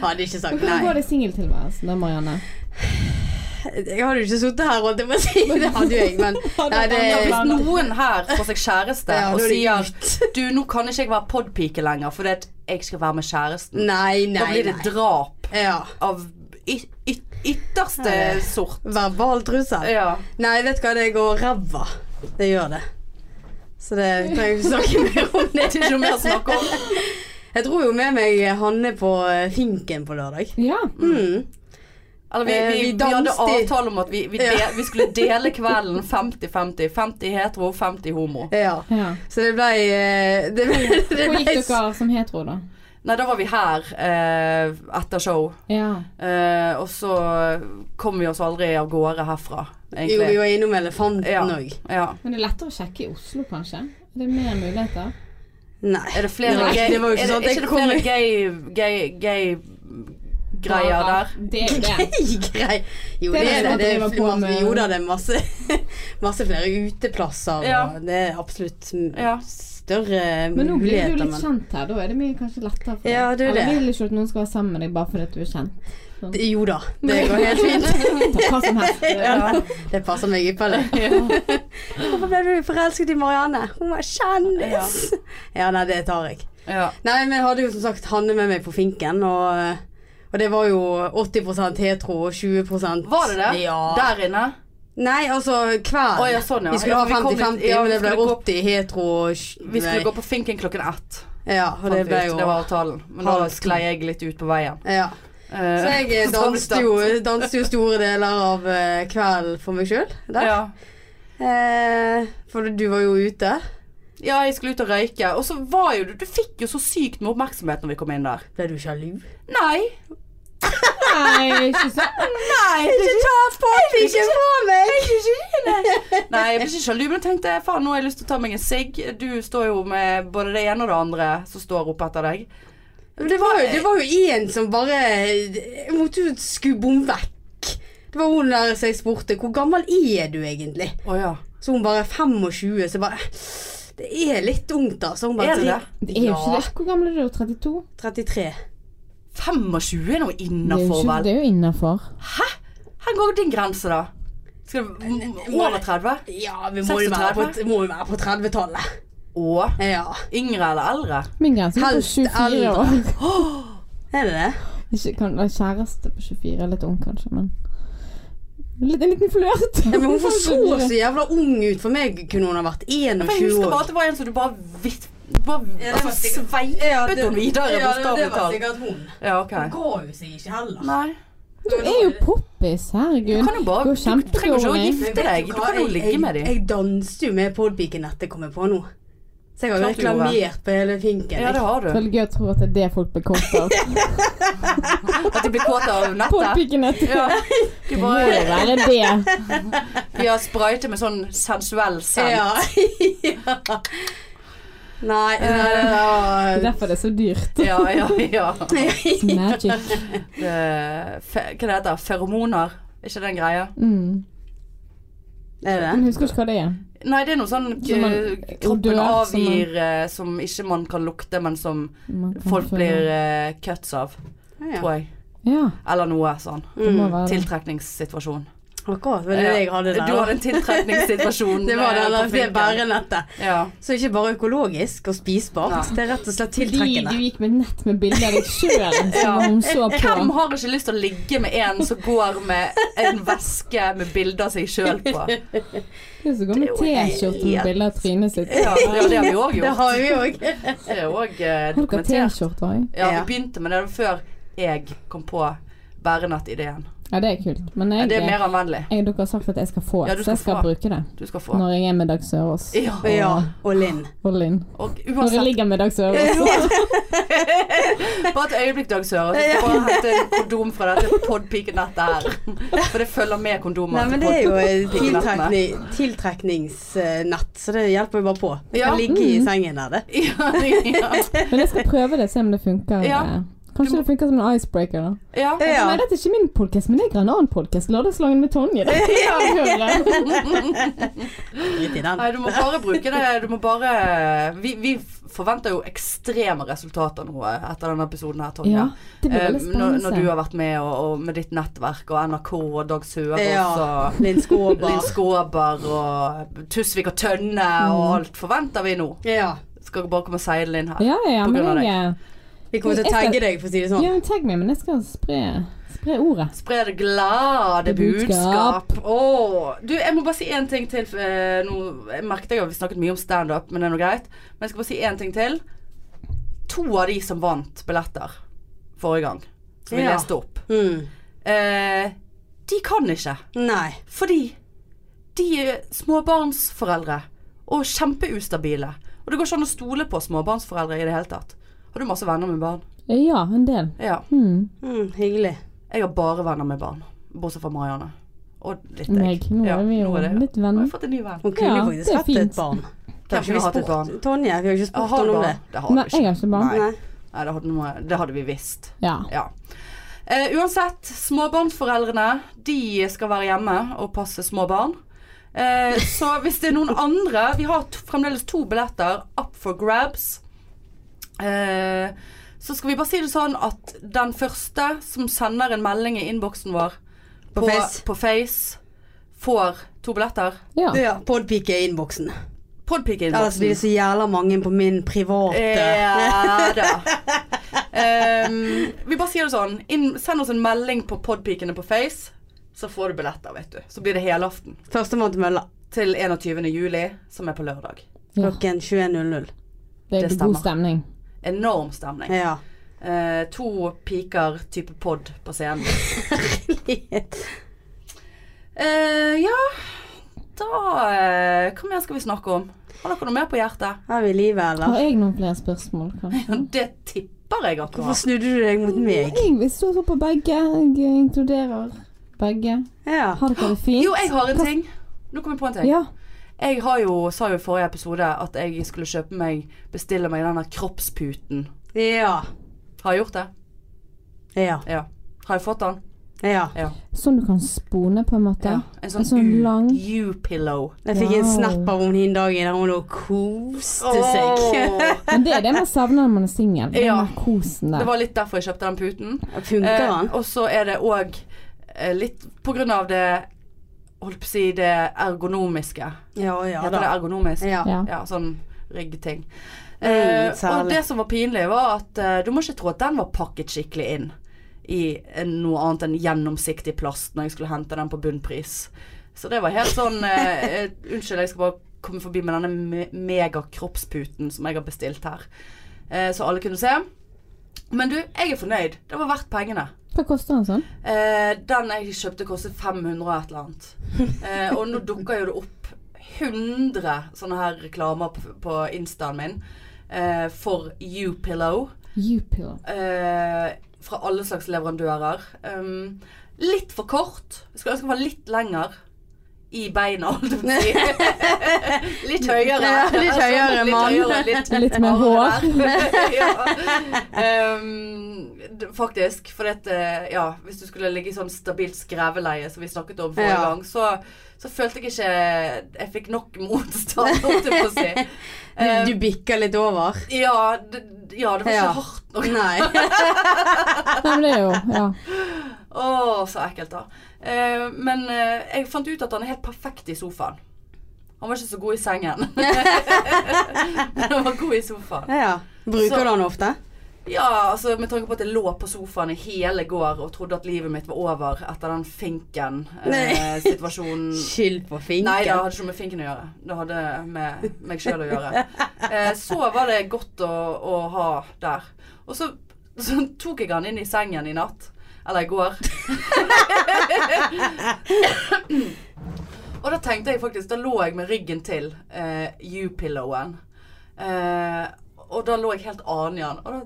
Speaker 2: Hadde ikke sagt
Speaker 3: Hvordan går
Speaker 2: nei.
Speaker 3: det i singeltilværelsen da, Marianne?
Speaker 2: Jeg hadde jo ikke sittet her, holdt jeg på å si. <laughs> Det hadde jo jeg,
Speaker 3: <laughs>
Speaker 2: men Nei, det
Speaker 1: Ja,
Speaker 2: er
Speaker 1: hvis noen her får seg kjæreste
Speaker 2: Ja,
Speaker 1: og
Speaker 2: da er det
Speaker 1: sier Du, nå kan ikke jeg være podpike lenger fordi at jeg skal være med kjæresten.
Speaker 2: Nei,
Speaker 1: Da
Speaker 2: nei,
Speaker 1: blir det
Speaker 2: nei.
Speaker 1: drap
Speaker 2: Ja.
Speaker 1: av y y ytterste
Speaker 2: Ja.
Speaker 1: sort.
Speaker 2: Verbal trussel.
Speaker 1: Ja.
Speaker 2: Nei, vet du hva, det går ræva. Det gjør det. Så det trenger jeg ikke snakke mer
Speaker 1: <laughs>
Speaker 2: om
Speaker 1: Det er
Speaker 2: det.
Speaker 1: ikke noe mer å snakke om.
Speaker 2: Jeg dro jo med meg Hanne på eh, finken på lørdag.
Speaker 3: Ja.
Speaker 2: Mm.
Speaker 1: Eller vi,
Speaker 2: Eh,
Speaker 1: vi,
Speaker 2: vi
Speaker 1: vi hadde
Speaker 2: danset i-
Speaker 1: avtale om at vi, vi, de,
Speaker 2: Ja.
Speaker 1: vi skulle dele kvelden 50-50. 50 hetero, 50 homo.
Speaker 2: Ja.
Speaker 3: ja.
Speaker 2: Så det ble eh, Det ble, det
Speaker 3: Hvor gikk
Speaker 2: ble
Speaker 3: dere som hetero, da?
Speaker 1: Nei, da var vi her eh, etter show,
Speaker 3: Ja.
Speaker 1: eh, og så kom vi oss aldri av gårde herfra,
Speaker 2: Jo, vi
Speaker 1: egentlig.
Speaker 2: var innom elefanten
Speaker 1: Ja.
Speaker 2: òg.
Speaker 1: Ja.
Speaker 3: Men det er lettere å sjekke i Oslo, kanskje? Det er mer muligheter?
Speaker 2: Nei.
Speaker 1: Er det flere
Speaker 2: Nei,
Speaker 1: gay,
Speaker 2: det var jo ikke
Speaker 1: er det,
Speaker 2: sånn at
Speaker 1: er
Speaker 2: jeg
Speaker 1: ikke det
Speaker 2: kom
Speaker 1: flere
Speaker 2: i-
Speaker 1: gay, gay, gay greier
Speaker 3: Bare.
Speaker 1: der?
Speaker 3: Det er jo det.
Speaker 2: <laughs> Grei. Jo,
Speaker 3: Det
Speaker 2: det
Speaker 3: er
Speaker 2: er
Speaker 3: det
Speaker 2: det.
Speaker 3: man
Speaker 2: det er,
Speaker 3: driver på
Speaker 2: masse,
Speaker 3: med.
Speaker 2: jo da, det er masse, <laughs> masse flere uteplasser,
Speaker 1: Ja.
Speaker 2: og det er absolutt m-
Speaker 1: Ja.
Speaker 2: større
Speaker 3: Men nå blir du
Speaker 2: muligheter.
Speaker 3: litt sånn- kjent her, da er det mye kanskje lettere for deg.
Speaker 2: Ja, det er
Speaker 3: Eller
Speaker 2: det.
Speaker 3: vil ikke at noen skal være sammen med deg bare fordi at du
Speaker 2: <laughs>
Speaker 3: er kjent.
Speaker 2: Det- Jo da, det går
Speaker 3: <laughs>
Speaker 2: helt fint.
Speaker 3: Ta hva som helst.
Speaker 2: <laughs>
Speaker 1: Ja.
Speaker 2: Det passer meg ypperlig. <laughs> Hvorfor ble du forelsket i Marianne? Hun var kjendis! Ja, nei, det tar jeg.
Speaker 1: Ja.
Speaker 2: Nei, men jeg hadde jo som sagt Hanne med meg på finken, og, og det var jo 80 hetero og 20
Speaker 1: Var det det?
Speaker 2: Ja.
Speaker 1: Der inne?
Speaker 2: Nei, altså kvelden.
Speaker 1: Å, ja, sånn, ja.
Speaker 2: Vi skulle
Speaker 1: Ja,
Speaker 2: ha
Speaker 1: vi kom litt-
Speaker 2: 50-50,
Speaker 1: ja, vi
Speaker 2: men det ble
Speaker 1: skulle gå-
Speaker 2: 80 hetero og tj-
Speaker 1: Vi skulle gå på finken klokken ett.
Speaker 2: Ja, og
Speaker 1: fant
Speaker 2: det
Speaker 1: vi
Speaker 2: ble
Speaker 1: ut.
Speaker 2: jo
Speaker 1: det var avtalen. Men da
Speaker 2: halv to.
Speaker 1: sklei jeg litt ut på veien.
Speaker 2: ja.
Speaker 1: Eh,
Speaker 2: Så jeg eh,
Speaker 1: så var det
Speaker 2: danset jo, danset jo store deler av eh, kvelden for meg sjøl der.
Speaker 1: <laughs> Ja.
Speaker 2: Eh, for du var jo ute.
Speaker 1: ja, jeg skulle ut og røyke. Og så var jo du Du fikk jo så sykt med oppmerksomhet når vi kom inn der.
Speaker 2: Ble du sjalu?
Speaker 1: Nei.
Speaker 3: Nei, ikke
Speaker 1: <laughs>
Speaker 3: sånn.
Speaker 1: Nei,
Speaker 2: Ikke ta på meg! Ikke på meg!
Speaker 1: <laughs> Nei jeg ble ikke sjalu, men jeg tenkte faen, nå har jeg lyst til å ta meg en sigg. Du står jo med både det ene og det andre som står oppe etter deg.
Speaker 2: Men Det var jo, det var jo en som bare eh, Jeg måtte jo skubbe henne vekk. Det var hun der som jeg spurte hvor gammel er du egentlig?
Speaker 1: Å ja.
Speaker 2: Så hun bare 25, så jeg bare Det er litt ungt, da. Så hun bare
Speaker 1: Er det det?
Speaker 3: Det er jo ikke det. Hvor gammel er du? 32?
Speaker 2: 33.
Speaker 1: 25 er noe
Speaker 3: Det er jo,
Speaker 1: innafor,
Speaker 3: ikke,
Speaker 1: vel?
Speaker 3: det er jo innafor.
Speaker 1: Her går din grense, da. Skal du m- over 30?
Speaker 2: Ja, vi må jo være
Speaker 1: 36?
Speaker 2: på, må jo være på 30-tallet.
Speaker 1: Og
Speaker 2: Ja.
Speaker 1: yngre eller eldre?
Speaker 3: Min grense er på
Speaker 2: Helst
Speaker 3: 24
Speaker 2: eldre.
Speaker 3: år.
Speaker 2: Er det det?
Speaker 3: <laughs> Ikke kan være kjæreste på 24. er Litt ung, kanskje, men litt, En liten flørt.
Speaker 2: Ja, men hun var så så jævla ung ut. For meg kunne hun ha vært
Speaker 1: For jeg
Speaker 2: 21
Speaker 1: husker
Speaker 2: år.
Speaker 1: bare at det var en som du bare vitt bare,
Speaker 2: Ja, det var
Speaker 1: altså,
Speaker 2: sikkert-
Speaker 1: sveipet
Speaker 2: Ja, det-
Speaker 1: henne videre,
Speaker 2: ja, det-
Speaker 1: bokstavelig
Speaker 2: Det var
Speaker 1: talt.
Speaker 2: sikkert hun.
Speaker 1: Ja, OK.
Speaker 2: Hun ga jo seg ikke heller.
Speaker 1: Nei.
Speaker 3: Du er jo poppis, herregud.
Speaker 1: Du kan jo bare-
Speaker 3: Går
Speaker 1: du trenger ikke å
Speaker 3: kjempedårlig.
Speaker 1: gifte-
Speaker 2: Men vet
Speaker 1: deg. Du
Speaker 2: hva?
Speaker 1: kan jo
Speaker 2: Jeg-
Speaker 1: ligge med
Speaker 2: jeg-
Speaker 1: de.
Speaker 2: Jeg danset jo med podpiken etter jeg kommer på nå. Så jeg har jo
Speaker 1: Klart du gjorde.
Speaker 2: reklamert på hele finken.
Speaker 1: Ja, det har
Speaker 3: Det er
Speaker 1: du.
Speaker 3: gøy å tro at det er det folk blir kåte
Speaker 1: <laughs>
Speaker 3: av.
Speaker 1: At de blir kåte av nettet.
Speaker 3: Podpiken etter.
Speaker 1: Ja. <laughs> De
Speaker 3: Det må jo
Speaker 1: bare
Speaker 3: være det.
Speaker 1: Vi har sprayet med sånn sensuell sand.
Speaker 2: <laughs> Ja. ja. Nei, nei, det
Speaker 3: Det er
Speaker 1: Eh,
Speaker 2: var
Speaker 3: derfor det er så dyrt.
Speaker 1: Ja, ja, ja. <laughs>
Speaker 3: Magic.
Speaker 1: Eh, fe- Hva det heter det? Feromoner? Er ikke det en greie?
Speaker 3: Mm.
Speaker 2: Er det?
Speaker 3: Men husker ikke hva det er.
Speaker 1: Nei, det er noe sånn
Speaker 3: Som man
Speaker 1: eh,
Speaker 3: odør,
Speaker 1: kroppen
Speaker 3: som man-
Speaker 1: avgir eh, som ikke man kan lukte, men som
Speaker 3: Man kan
Speaker 1: folk
Speaker 3: føle-
Speaker 1: blir eh, cuts av,
Speaker 2: <laughs> Ja.
Speaker 1: tror jeg.
Speaker 3: Ja,
Speaker 1: Eller noe sånn.
Speaker 3: det må
Speaker 2: Mm.
Speaker 3: være det.
Speaker 1: Tiltrekningssituasjon.
Speaker 2: Akkurat. Det var det jeg hadde der.
Speaker 1: Du
Speaker 2: da.
Speaker 1: hadde en tiltrekningssituasjon.
Speaker 2: <laughs> Det
Speaker 1: eh,
Speaker 2: var det,
Speaker 1: på
Speaker 2: der, det
Speaker 1: finken.
Speaker 2: bærenettet.
Speaker 1: Ja.
Speaker 2: Så ikke bare økologisk og spisbart,
Speaker 1: Nei.
Speaker 2: det er rett og slett
Speaker 3: Fordi du
Speaker 2: tiltrekkende.
Speaker 3: gikk med nett med bilder av deg sjøl
Speaker 1: <laughs>
Speaker 3: som
Speaker 1: Ja.
Speaker 3: hun så
Speaker 1: Hvem
Speaker 3: på.
Speaker 1: har ikke lyst til å ligge med en som går med en veske med bilde av seg sjøl
Speaker 2: <laughs>
Speaker 1: på?
Speaker 3: Hun som går med
Speaker 1: Det er jo
Speaker 3: T-skjorte med
Speaker 1: helt-
Speaker 3: bilder av trynet sitt.
Speaker 1: Ja, det er jo det har vi òg
Speaker 2: Det
Speaker 1: gjort.
Speaker 2: har vi òg.
Speaker 1: Det er òg eh,
Speaker 3: Har dere
Speaker 1: dokumentert.
Speaker 3: T-skjorte òg?
Speaker 1: Ja, vi
Speaker 2: Ja.
Speaker 1: begynte med det før jeg kom på bærenettideen.
Speaker 3: Ja, det er kult. Men jeg,
Speaker 1: Det er mer anvendelig.
Speaker 3: jeg, dere har sagt at jeg skal få et,
Speaker 1: Ja, du
Speaker 3: så jeg
Speaker 1: skal
Speaker 3: skal
Speaker 1: få.
Speaker 3: bruke det.
Speaker 1: Du skal få.
Speaker 3: Når jeg er med Dag Sørås
Speaker 1: Ja,
Speaker 2: <laughs> Ja, og Linn.
Speaker 3: og Linn.
Speaker 1: Og
Speaker 3: Når jeg
Speaker 1: uansett
Speaker 3: ligger med Dag Sørås.
Speaker 1: Bare et øyeblikk, Dag Søren. Jeg skal bare hente en kondom fra dette podpikenettet her. For det følger med kondomer.
Speaker 2: Nei, men
Speaker 1: til
Speaker 2: det er jo
Speaker 1: podpikenettene.
Speaker 2: et tiltrekning, tiltrekningsnett, så det hjelper jo bare på. Du
Speaker 1: Ja.
Speaker 2: kan ligge i sengen der, det.
Speaker 1: Ja,
Speaker 3: Men jeg skal prøve det, se om det funker.
Speaker 1: Ja.
Speaker 3: eh, Kanskje
Speaker 1: Du må-
Speaker 3: det funker som en icebreaker, da.
Speaker 1: ja. ja.
Speaker 2: Ja.
Speaker 3: Nei, dette er ikke min podcast, men jeg er en annen podcast. Lørdagslangen
Speaker 1: <laughs>
Speaker 3: med Tonje. Det er jeg hører.
Speaker 2: Drit i den.
Speaker 1: Nei, du må bare bruke det. Du må bare Vi, vi forventer jo ekstreme resultater nå eh, etter denne episoden her, Tonje.
Speaker 3: Ja, det blir
Speaker 1: Eh,
Speaker 3: veldig
Speaker 1: når, når du
Speaker 3: spennende.
Speaker 1: har vært med, og, og med ditt nettverk, og NRK og Dag Sørås
Speaker 2: Ja.
Speaker 1: og
Speaker 2: Linn
Speaker 1: Linn
Speaker 2: Skåber.
Speaker 1: Skåber og Tusvik og Tønne og alt forventer vi nå.
Speaker 2: Ja.
Speaker 1: Skal bare komme seilende inn her.
Speaker 3: Ja, ja, ja,
Speaker 1: På grunn av
Speaker 3: men jeg
Speaker 2: Vi kommer til å tagge deg, for å si det sånn.
Speaker 3: Ja, men tagg meg, men jeg skal spre, spre ordet.
Speaker 1: Spre det glade
Speaker 3: Det budskap.
Speaker 1: budskap. Åh. Du, jeg må bare si én ting til. eh, Nå jeg merket jeg at vi snakket mye om standup, men det er nå greit. Men jeg skal bare si én ting til. To av de som vant billetter forrige gang, som vi
Speaker 2: Ja.
Speaker 1: leste opp,
Speaker 2: Mm.
Speaker 1: eh, de kan ikke.
Speaker 2: Nei.
Speaker 1: Fordi de er småbarnsforeldre og kjempeustabile. Og det går ikke an å stole på småbarnsforeldre i det hele tatt. Har du masse venner med barn?
Speaker 3: Eh, Ja, en del.
Speaker 1: Ja.
Speaker 3: Hmm.
Speaker 2: Mm, hyggelig.
Speaker 1: Jeg har bare venner med barn. Bortsett fra Marianne. Og litt jeg.
Speaker 3: Meg. Nå
Speaker 1: Ja,
Speaker 3: er vi jo
Speaker 1: nå det.
Speaker 3: litt
Speaker 1: Nå har
Speaker 3: venner.
Speaker 1: jeg fått en ny venn.
Speaker 2: Hun kunne
Speaker 3: Ja,
Speaker 2: jo
Speaker 3: det
Speaker 2: faktisk
Speaker 3: er
Speaker 2: hatt et
Speaker 3: fint.
Speaker 2: barn.
Speaker 1: Hvem
Speaker 2: Kanskje vi
Speaker 1: kunne hatt et
Speaker 2: spurt
Speaker 1: barn?
Speaker 2: Tonje? Vi har jo ikke
Speaker 1: Jeg
Speaker 2: spurt
Speaker 1: har
Speaker 2: henne om det.
Speaker 1: barn. Det har du
Speaker 3: Nei, jeg
Speaker 1: ikke.
Speaker 3: har ikke barn.
Speaker 2: Nei.
Speaker 1: Nei, det hadde, noe, det hadde vi visst.
Speaker 3: Ja.
Speaker 1: Ja. Eh, uansett, småbarnsforeldrene de skal være hjemme og passe små barn. Eh, så hvis det er noen andre Vi har t fremdeles to billetter up for grabs. Eh, så skal vi bare si det sånn at den første som sender en melding i innboksen vår
Speaker 2: På Face.
Speaker 1: på Face, får to billetter.
Speaker 3: Ja.
Speaker 2: Ja, podpike i innboksen. Ellers blir det
Speaker 1: Podpike-innboksen.
Speaker 2: så jævla mange på min
Speaker 1: Eh.
Speaker 2: private.
Speaker 1: Ja da. Ehm, vi bare sier det sånn. Inn, send oss en melding på Podpikene på Face, så får du billetter, vet du. Så blir det helaften
Speaker 2: Førstemann til mølla
Speaker 1: til 21. juli, som er på lørdag.
Speaker 3: ja.
Speaker 2: klokken 21.00.
Speaker 3: Det
Speaker 1: det
Speaker 3: er
Speaker 1: stemmer.
Speaker 3: god stemning.
Speaker 1: Enorm stemning.
Speaker 2: Ja. <laughs>
Speaker 1: Eh, to piker type pod på scenen. Eh, ja, da eh, Hva mer skal vi snakke om? Har dere noe mer på hjertet?
Speaker 2: Har vi livet,
Speaker 3: Har
Speaker 2: eller?
Speaker 3: jeg noen flere spørsmål, kanskje?
Speaker 1: Ja, Det tipper jeg at du
Speaker 2: Hvorfor
Speaker 1: har.
Speaker 2: snudde du deg mot meg?
Speaker 3: Jeg vil stå på begge. Jeg inkluderer begge.
Speaker 2: Ja.
Speaker 3: Har dere det fint?
Speaker 1: Jo, jeg har en ting. Nå kom jeg på en ting.
Speaker 3: Ja.
Speaker 1: Jeg har jo, sa jo i forrige episode at jeg skulle kjøpe meg, bestille meg den der kroppsputen.
Speaker 2: Ja.
Speaker 1: Har jeg gjort det?
Speaker 2: Ja.
Speaker 1: Ja. Har jeg fått den?
Speaker 2: ja.
Speaker 3: Sånn du kan spone, på en måte.
Speaker 1: Ja. En sånn,
Speaker 3: En sånn
Speaker 1: U-
Speaker 3: lang-
Speaker 1: U-pillow.
Speaker 2: Jeg fikk en
Speaker 3: Wow.
Speaker 2: snap av henne den dagen der hun lå og koste seg. <laughs>
Speaker 1: Åh!
Speaker 3: Men det er det man savner når man er singel. Den
Speaker 1: Ja.
Speaker 3: der
Speaker 1: <laughs>
Speaker 3: Kosen
Speaker 1: Det
Speaker 3: der.
Speaker 1: var litt derfor jeg kjøpte den puten. Eh,
Speaker 2: Funker han?
Speaker 1: og så er det òg eh, litt på grunn av det Holdt på å si det ergonomiske.
Speaker 2: Ja, ja
Speaker 1: Heter
Speaker 2: da.
Speaker 1: det ergonomisk?
Speaker 2: Ja.
Speaker 3: Ja.
Speaker 1: Ja, sånn ryggting.
Speaker 2: Mm,
Speaker 1: Eh, og
Speaker 2: særlig.
Speaker 1: det som var pinlig, var at eh, du må ikke tro at den var pakket skikkelig inn i en- noe annet enn gjennomsiktig plast når jeg skulle hente den på bunnpris. Så det var helt sånn eh, eh, Unnskyld, jeg skal bare komme forbi med denne me megakroppsputen som jeg har bestilt her. Eh, så alle kunne se. Men du, jeg er fornøyd. Det var verdt pengene.
Speaker 3: Hva koster en sånn?
Speaker 1: Eh, den jeg kjøpte kostet 500 og et eller annet. Eh, og nå dukker jo det opp 100 sånne her reklamer på, på instaen min eh, for U-pillow.
Speaker 3: U-pillow.
Speaker 1: Eh, fra alle slags leverandører. Um, litt for kort. Jeg Skulle ønske den var litt lenger. I beina, holdt jeg på å si.
Speaker 2: <laughs>
Speaker 1: Litt høyere. Altså,
Speaker 2: Ja, litt høyere, mann.
Speaker 1: Litt, høyere, litt,
Speaker 3: Litt mer hår.
Speaker 2: <laughs>
Speaker 1: ja. um, d- faktisk. For at, eh, ja, hvis du skulle ligge i sånn stabilt skreveleie som vi snakket om forrige
Speaker 2: Ja.
Speaker 1: gang, så, så følte jeg ikke Jeg fikk nok motstand, holdt jeg på å si.
Speaker 2: Du, <laughs> du
Speaker 1: Eh.
Speaker 2: bikker litt
Speaker 1: <laughs>
Speaker 2: over.
Speaker 1: Ja, det, ja, det var
Speaker 2: Ja.
Speaker 1: ikke hardt nok.
Speaker 2: Nei. <laughs>
Speaker 3: Nei, men det er jo Ja.
Speaker 1: Å, så ekkelt, da. Eh, men eh, jeg fant ut at han er helt perfekt i sofaen. Han var ikke så god i sengen. <laughs> men han var god i sofaen.
Speaker 2: Ja. Bruker
Speaker 1: Så-
Speaker 2: du han ofte?
Speaker 1: Ja, altså med tanke på at jeg lå på sofaen i hele går og trodde at livet mitt var over etter den eh,
Speaker 2: Nei.
Speaker 1: finken-situasjonen.
Speaker 2: <laughs> Skyld på finken.
Speaker 1: Mm. Nei, det hadde ikke noe med finken å gjøre. Det hadde med meg sjøl å gjøre. Eh, så var det godt å, å ha der. Og så, så tok jeg han inn i sengen i natt. Eller i går. og da tenkte jeg faktisk Da lå jeg med ryggen til eh, U-pillowen. Eh, og da lå jeg helt annen i den. Og da,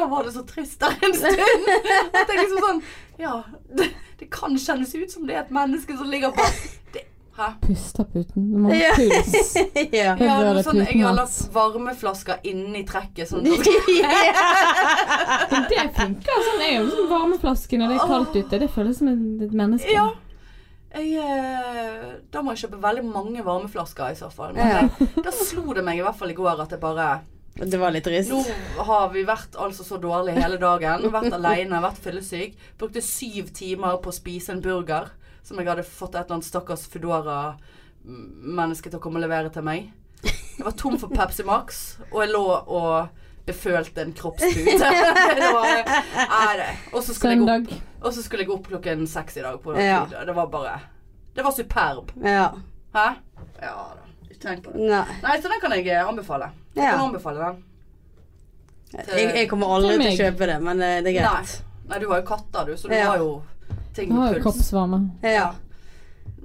Speaker 1: da var det så trist der en stund. At jeg liksom sånn Ja, det, det kan kjennes ut som det er et menneske som ligger på det, Hæ?
Speaker 3: Puster puten. Når man
Speaker 2: Ja.
Speaker 3: har puls.
Speaker 2: <laughs> ja.
Speaker 3: Jeg
Speaker 1: Ja,
Speaker 3: bør
Speaker 1: noe
Speaker 3: ha
Speaker 1: sånn, jeg har
Speaker 3: putemat.
Speaker 1: lagt varmeflasker inni trekket. Sånn, at-
Speaker 3: Men det funker. Sånn er jo sånn varmeflaske når det er kaldt ute. Det føles som et, et menneske.
Speaker 1: Ja. Jeg, eh, da må jeg kjøpe veldig mange varmeflasker i så fall.
Speaker 2: Ja.
Speaker 1: Men jeg, da slo det meg i hvert fall i går at jeg bare
Speaker 2: Det var litt trist.
Speaker 1: Nå har vi vært altså så dårlig hele dagen. Vært aleine, vært fyllesyk. Brukte syv timer på å spise en burger som jeg hadde fått et eller annet stakkars Foodora-menneske til å komme og levere til meg. Jeg var tom for Pepsi Max, og jeg lå og befølte en kroppspute. <laughs> Det var- Nei, det- Og så skulle jeg opp
Speaker 3: Søndag.
Speaker 1: og så skulle jeg opp klokken seks i dag. På
Speaker 2: Ja.
Speaker 1: tid, og Det var bare Det var superb.
Speaker 2: Ja.
Speaker 1: Hæ? Ja da. Ikke tenk på det.
Speaker 2: Nei.
Speaker 1: Nei, så den kan jeg eh, anbefale. Jeg
Speaker 2: Ja.
Speaker 1: kan anbefale den.
Speaker 2: Jeg, jeg kommer aldri
Speaker 3: Til
Speaker 2: til å
Speaker 3: meg.
Speaker 2: kjøpe det, men eh, det er greit.
Speaker 1: Nei, du har jo katter, du, så du
Speaker 2: Ja.
Speaker 1: har jo ting
Speaker 3: Jeg har
Speaker 1: med
Speaker 3: jo
Speaker 1: puls.
Speaker 3: kroppsvarme.
Speaker 2: Ja.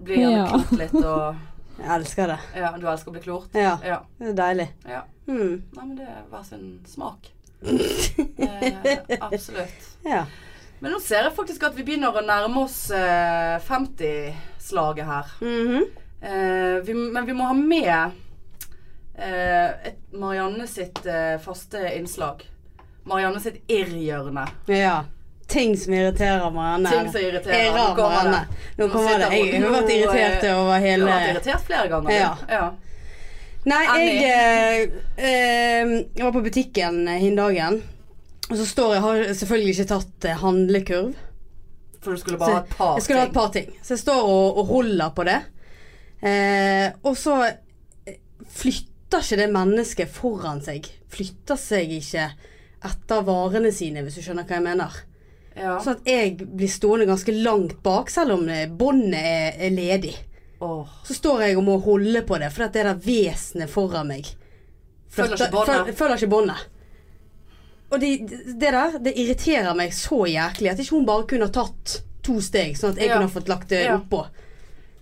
Speaker 1: Blir gjerne
Speaker 3: Ja.
Speaker 1: klort litt
Speaker 3: <laughs>
Speaker 1: og
Speaker 2: Jeg elsker det.
Speaker 1: Ja, du elsker å bli klort?
Speaker 2: Ja.
Speaker 1: Ja.
Speaker 2: Det er deilig.
Speaker 1: ja.
Speaker 2: Mm.
Speaker 1: Nei, men det er hver sin
Speaker 2: <laughs>
Speaker 1: smak. Eh, absolutt.
Speaker 2: Ja.
Speaker 1: Men nå ser jeg faktisk at vi begynner å nærme oss eh, 50-slaget her.
Speaker 2: Mhm.
Speaker 1: Eh, vi, men vi må ha med eh, et Marianne sitt eh, faste innslag. Marianne sitt irrhjørne.
Speaker 2: ja. Ting som irriterer Marianne.
Speaker 1: Ting som irriterer.
Speaker 2: Irrer
Speaker 1: Nå kommer
Speaker 2: Marianne. Nå
Speaker 1: Nå
Speaker 2: kommer det.
Speaker 1: sitter
Speaker 2: Jeg
Speaker 1: hun-
Speaker 2: har vært
Speaker 1: nå,
Speaker 2: irritert
Speaker 1: eh,
Speaker 2: over
Speaker 1: Du har
Speaker 2: hele
Speaker 1: vært irritert flere ganger. du.
Speaker 2: Ja.
Speaker 1: ja.
Speaker 2: Nei,
Speaker 1: Annie.
Speaker 2: jeg, eh, eh, jeg var på butikken eh, hin dagen. Og så står jeg har selvfølgelig ikke tatt eh, handlekurv.
Speaker 1: For du skulle
Speaker 2: Så
Speaker 1: bare ha et par
Speaker 2: jeg skulle ha
Speaker 1: ting.
Speaker 2: et par ting. Så jeg står og, og holder på det. Eh, og så eh, flytter ikke det mennesket foran seg. Flytter seg ikke etter varene sine, hvis du skjønner hva jeg mener.
Speaker 1: Ja.
Speaker 2: Sånn at jeg blir stående ganske langt bak, selv om eh, båndet er, er ledig.
Speaker 1: Åh.
Speaker 2: Så står jeg og må holde på det, for at det er det vesenet foran meg.
Speaker 1: Følger
Speaker 2: flytter-
Speaker 1: ikke båndet.
Speaker 2: føl- Følger ikke båndet. Og de, det der, det irriterer meg så jæklig at ikke hun bare kunne ha tatt to steg, sånn at jeg
Speaker 1: Ja.
Speaker 2: kunne ha fått lagt det
Speaker 1: Ja.
Speaker 2: oppå.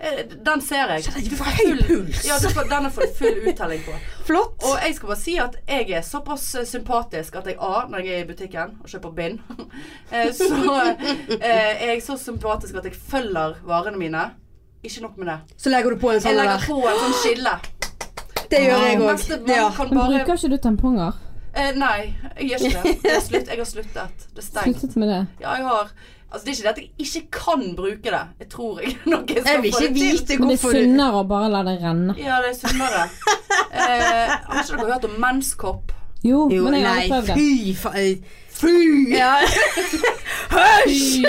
Speaker 1: Eh, Den ser jeg.
Speaker 2: Kjenner jeg
Speaker 1: Du får
Speaker 2: høy
Speaker 1: full-
Speaker 2: puls.
Speaker 1: Ja, du får, den får du
Speaker 2: <laughs>
Speaker 1: full uttelling på.
Speaker 2: Flott!
Speaker 1: Og jeg skal bare si at jeg er såpass eh, sympatisk at jeg A, når jeg er i butikken og kjøper bind, <laughs> eh, så eh, er jeg så sympatisk at jeg følger varene mine. Ikke nok med det.
Speaker 2: så legger du på en
Speaker 1: Jeg
Speaker 2: sånn
Speaker 1: legger
Speaker 2: der.
Speaker 1: på en sånn skille.
Speaker 2: Det gjør jeg òg.
Speaker 1: Neste mann
Speaker 2: Ja.
Speaker 1: kan
Speaker 3: Men
Speaker 1: bare
Speaker 3: bruker ikke du tamponger?
Speaker 1: eh, Nei, jeg gjør ikke det. Jeg har, slutt, jeg har sluttet. Det er
Speaker 3: <laughs>
Speaker 1: stengt.
Speaker 3: Sluttet med det.
Speaker 1: Ja, jeg har Altså, det er ikke det at jeg ikke kan bruke det. Jeg tror jeg <laughs> nok jeg
Speaker 2: Jeg
Speaker 1: skal
Speaker 2: vil
Speaker 1: få det til.
Speaker 2: ikke vite
Speaker 3: Men det er
Speaker 2: hvorfor du
Speaker 3: sunnere å bare la det renne.
Speaker 1: Ja, det er
Speaker 2: <laughs>
Speaker 1: sunnere. Eh, har ikke dere hørt om menskopp?
Speaker 3: Jo,
Speaker 2: Jo,
Speaker 3: men jeg har
Speaker 2: nei,
Speaker 3: aldri prøvd det.
Speaker 2: fy faen. Fy! Ja. Hysj!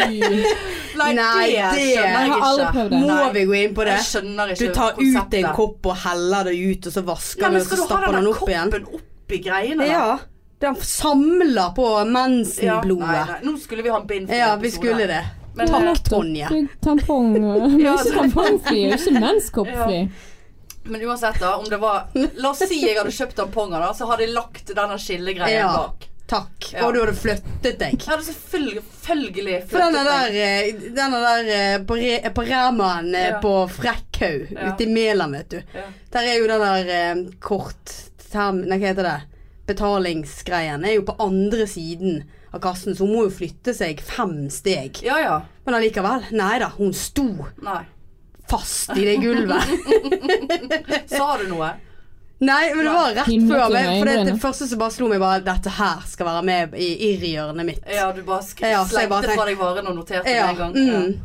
Speaker 1: Nei,
Speaker 2: Nei,
Speaker 1: det
Speaker 2: det-
Speaker 1: skjønner
Speaker 3: Jeg
Speaker 1: jeg
Speaker 3: har aldri
Speaker 1: ikke.
Speaker 3: prøvd det.
Speaker 2: Må
Speaker 1: Nei.
Speaker 2: vi gå inn på det?
Speaker 1: Jeg skjønner
Speaker 2: Du
Speaker 1: ikke
Speaker 2: tar ut
Speaker 1: konseptet.
Speaker 2: en kopp og heller det ut, og så
Speaker 1: Nei,
Speaker 2: vasker du,
Speaker 1: men
Speaker 2: og så
Speaker 1: skal du ha
Speaker 2: stapper du
Speaker 1: den
Speaker 2: den
Speaker 1: der
Speaker 2: opp igjen.
Speaker 1: koppen oppi greiene? da?
Speaker 2: Ja. Den samler på
Speaker 1: Ja, Nei,
Speaker 2: mensenblodet.
Speaker 1: nei. Nå skulle vi ha en bind for
Speaker 2: Ja,
Speaker 1: en
Speaker 2: vi
Speaker 1: episode.
Speaker 2: skulle det.
Speaker 1: Men,
Speaker 2: Takk,
Speaker 1: eh,
Speaker 2: Tonje.
Speaker 3: Du, Tampong Men
Speaker 1: Ja,
Speaker 3: ikke
Speaker 1: det-
Speaker 3: tampongfri, og ikke menskoppfri.
Speaker 1: men uansett, da. Om det var La oss si jeg hadde kjøpt tamponger, da. Så hadde jeg lagt denne skillegreien
Speaker 2: Ja.
Speaker 1: bak.
Speaker 2: Takk.
Speaker 1: Ja.
Speaker 2: Og du hadde flyttet deg.
Speaker 1: Jeg hadde selvfølgelig, selvfølgelig
Speaker 2: For
Speaker 1: meg.
Speaker 2: denne der, eh, denne der eh, på, re, på Remaen eh,
Speaker 1: Ja.
Speaker 2: på Frekkhaug
Speaker 1: Ja.
Speaker 2: ute i Mæland, vet du.
Speaker 1: Ja.
Speaker 2: Der er jo den der eh, kortterm... Nei, hva heter det? Betalingsgreien er jo på andre siden av kassen, så hun må jo flytte seg fem steg.
Speaker 1: Ja ja.
Speaker 2: Men allikevel. Nei da, hun sto
Speaker 1: Nei.
Speaker 2: fast i
Speaker 1: <laughs>
Speaker 2: det gulvet.
Speaker 1: Sa du noe?
Speaker 2: Nei, men det var rett
Speaker 3: Himlet
Speaker 2: før
Speaker 3: i
Speaker 2: meg. For det,
Speaker 3: øynene.
Speaker 2: det første som bare slo meg, var dette her skal være med i irrhjørnet mitt.
Speaker 1: Ja, du bare sk
Speaker 2: Ja, så jeg bare
Speaker 1: slengte fra
Speaker 2: tenkte-
Speaker 1: deg varene og noterte med
Speaker 2: Ja,
Speaker 1: en gang. Ja.
Speaker 2: Mm.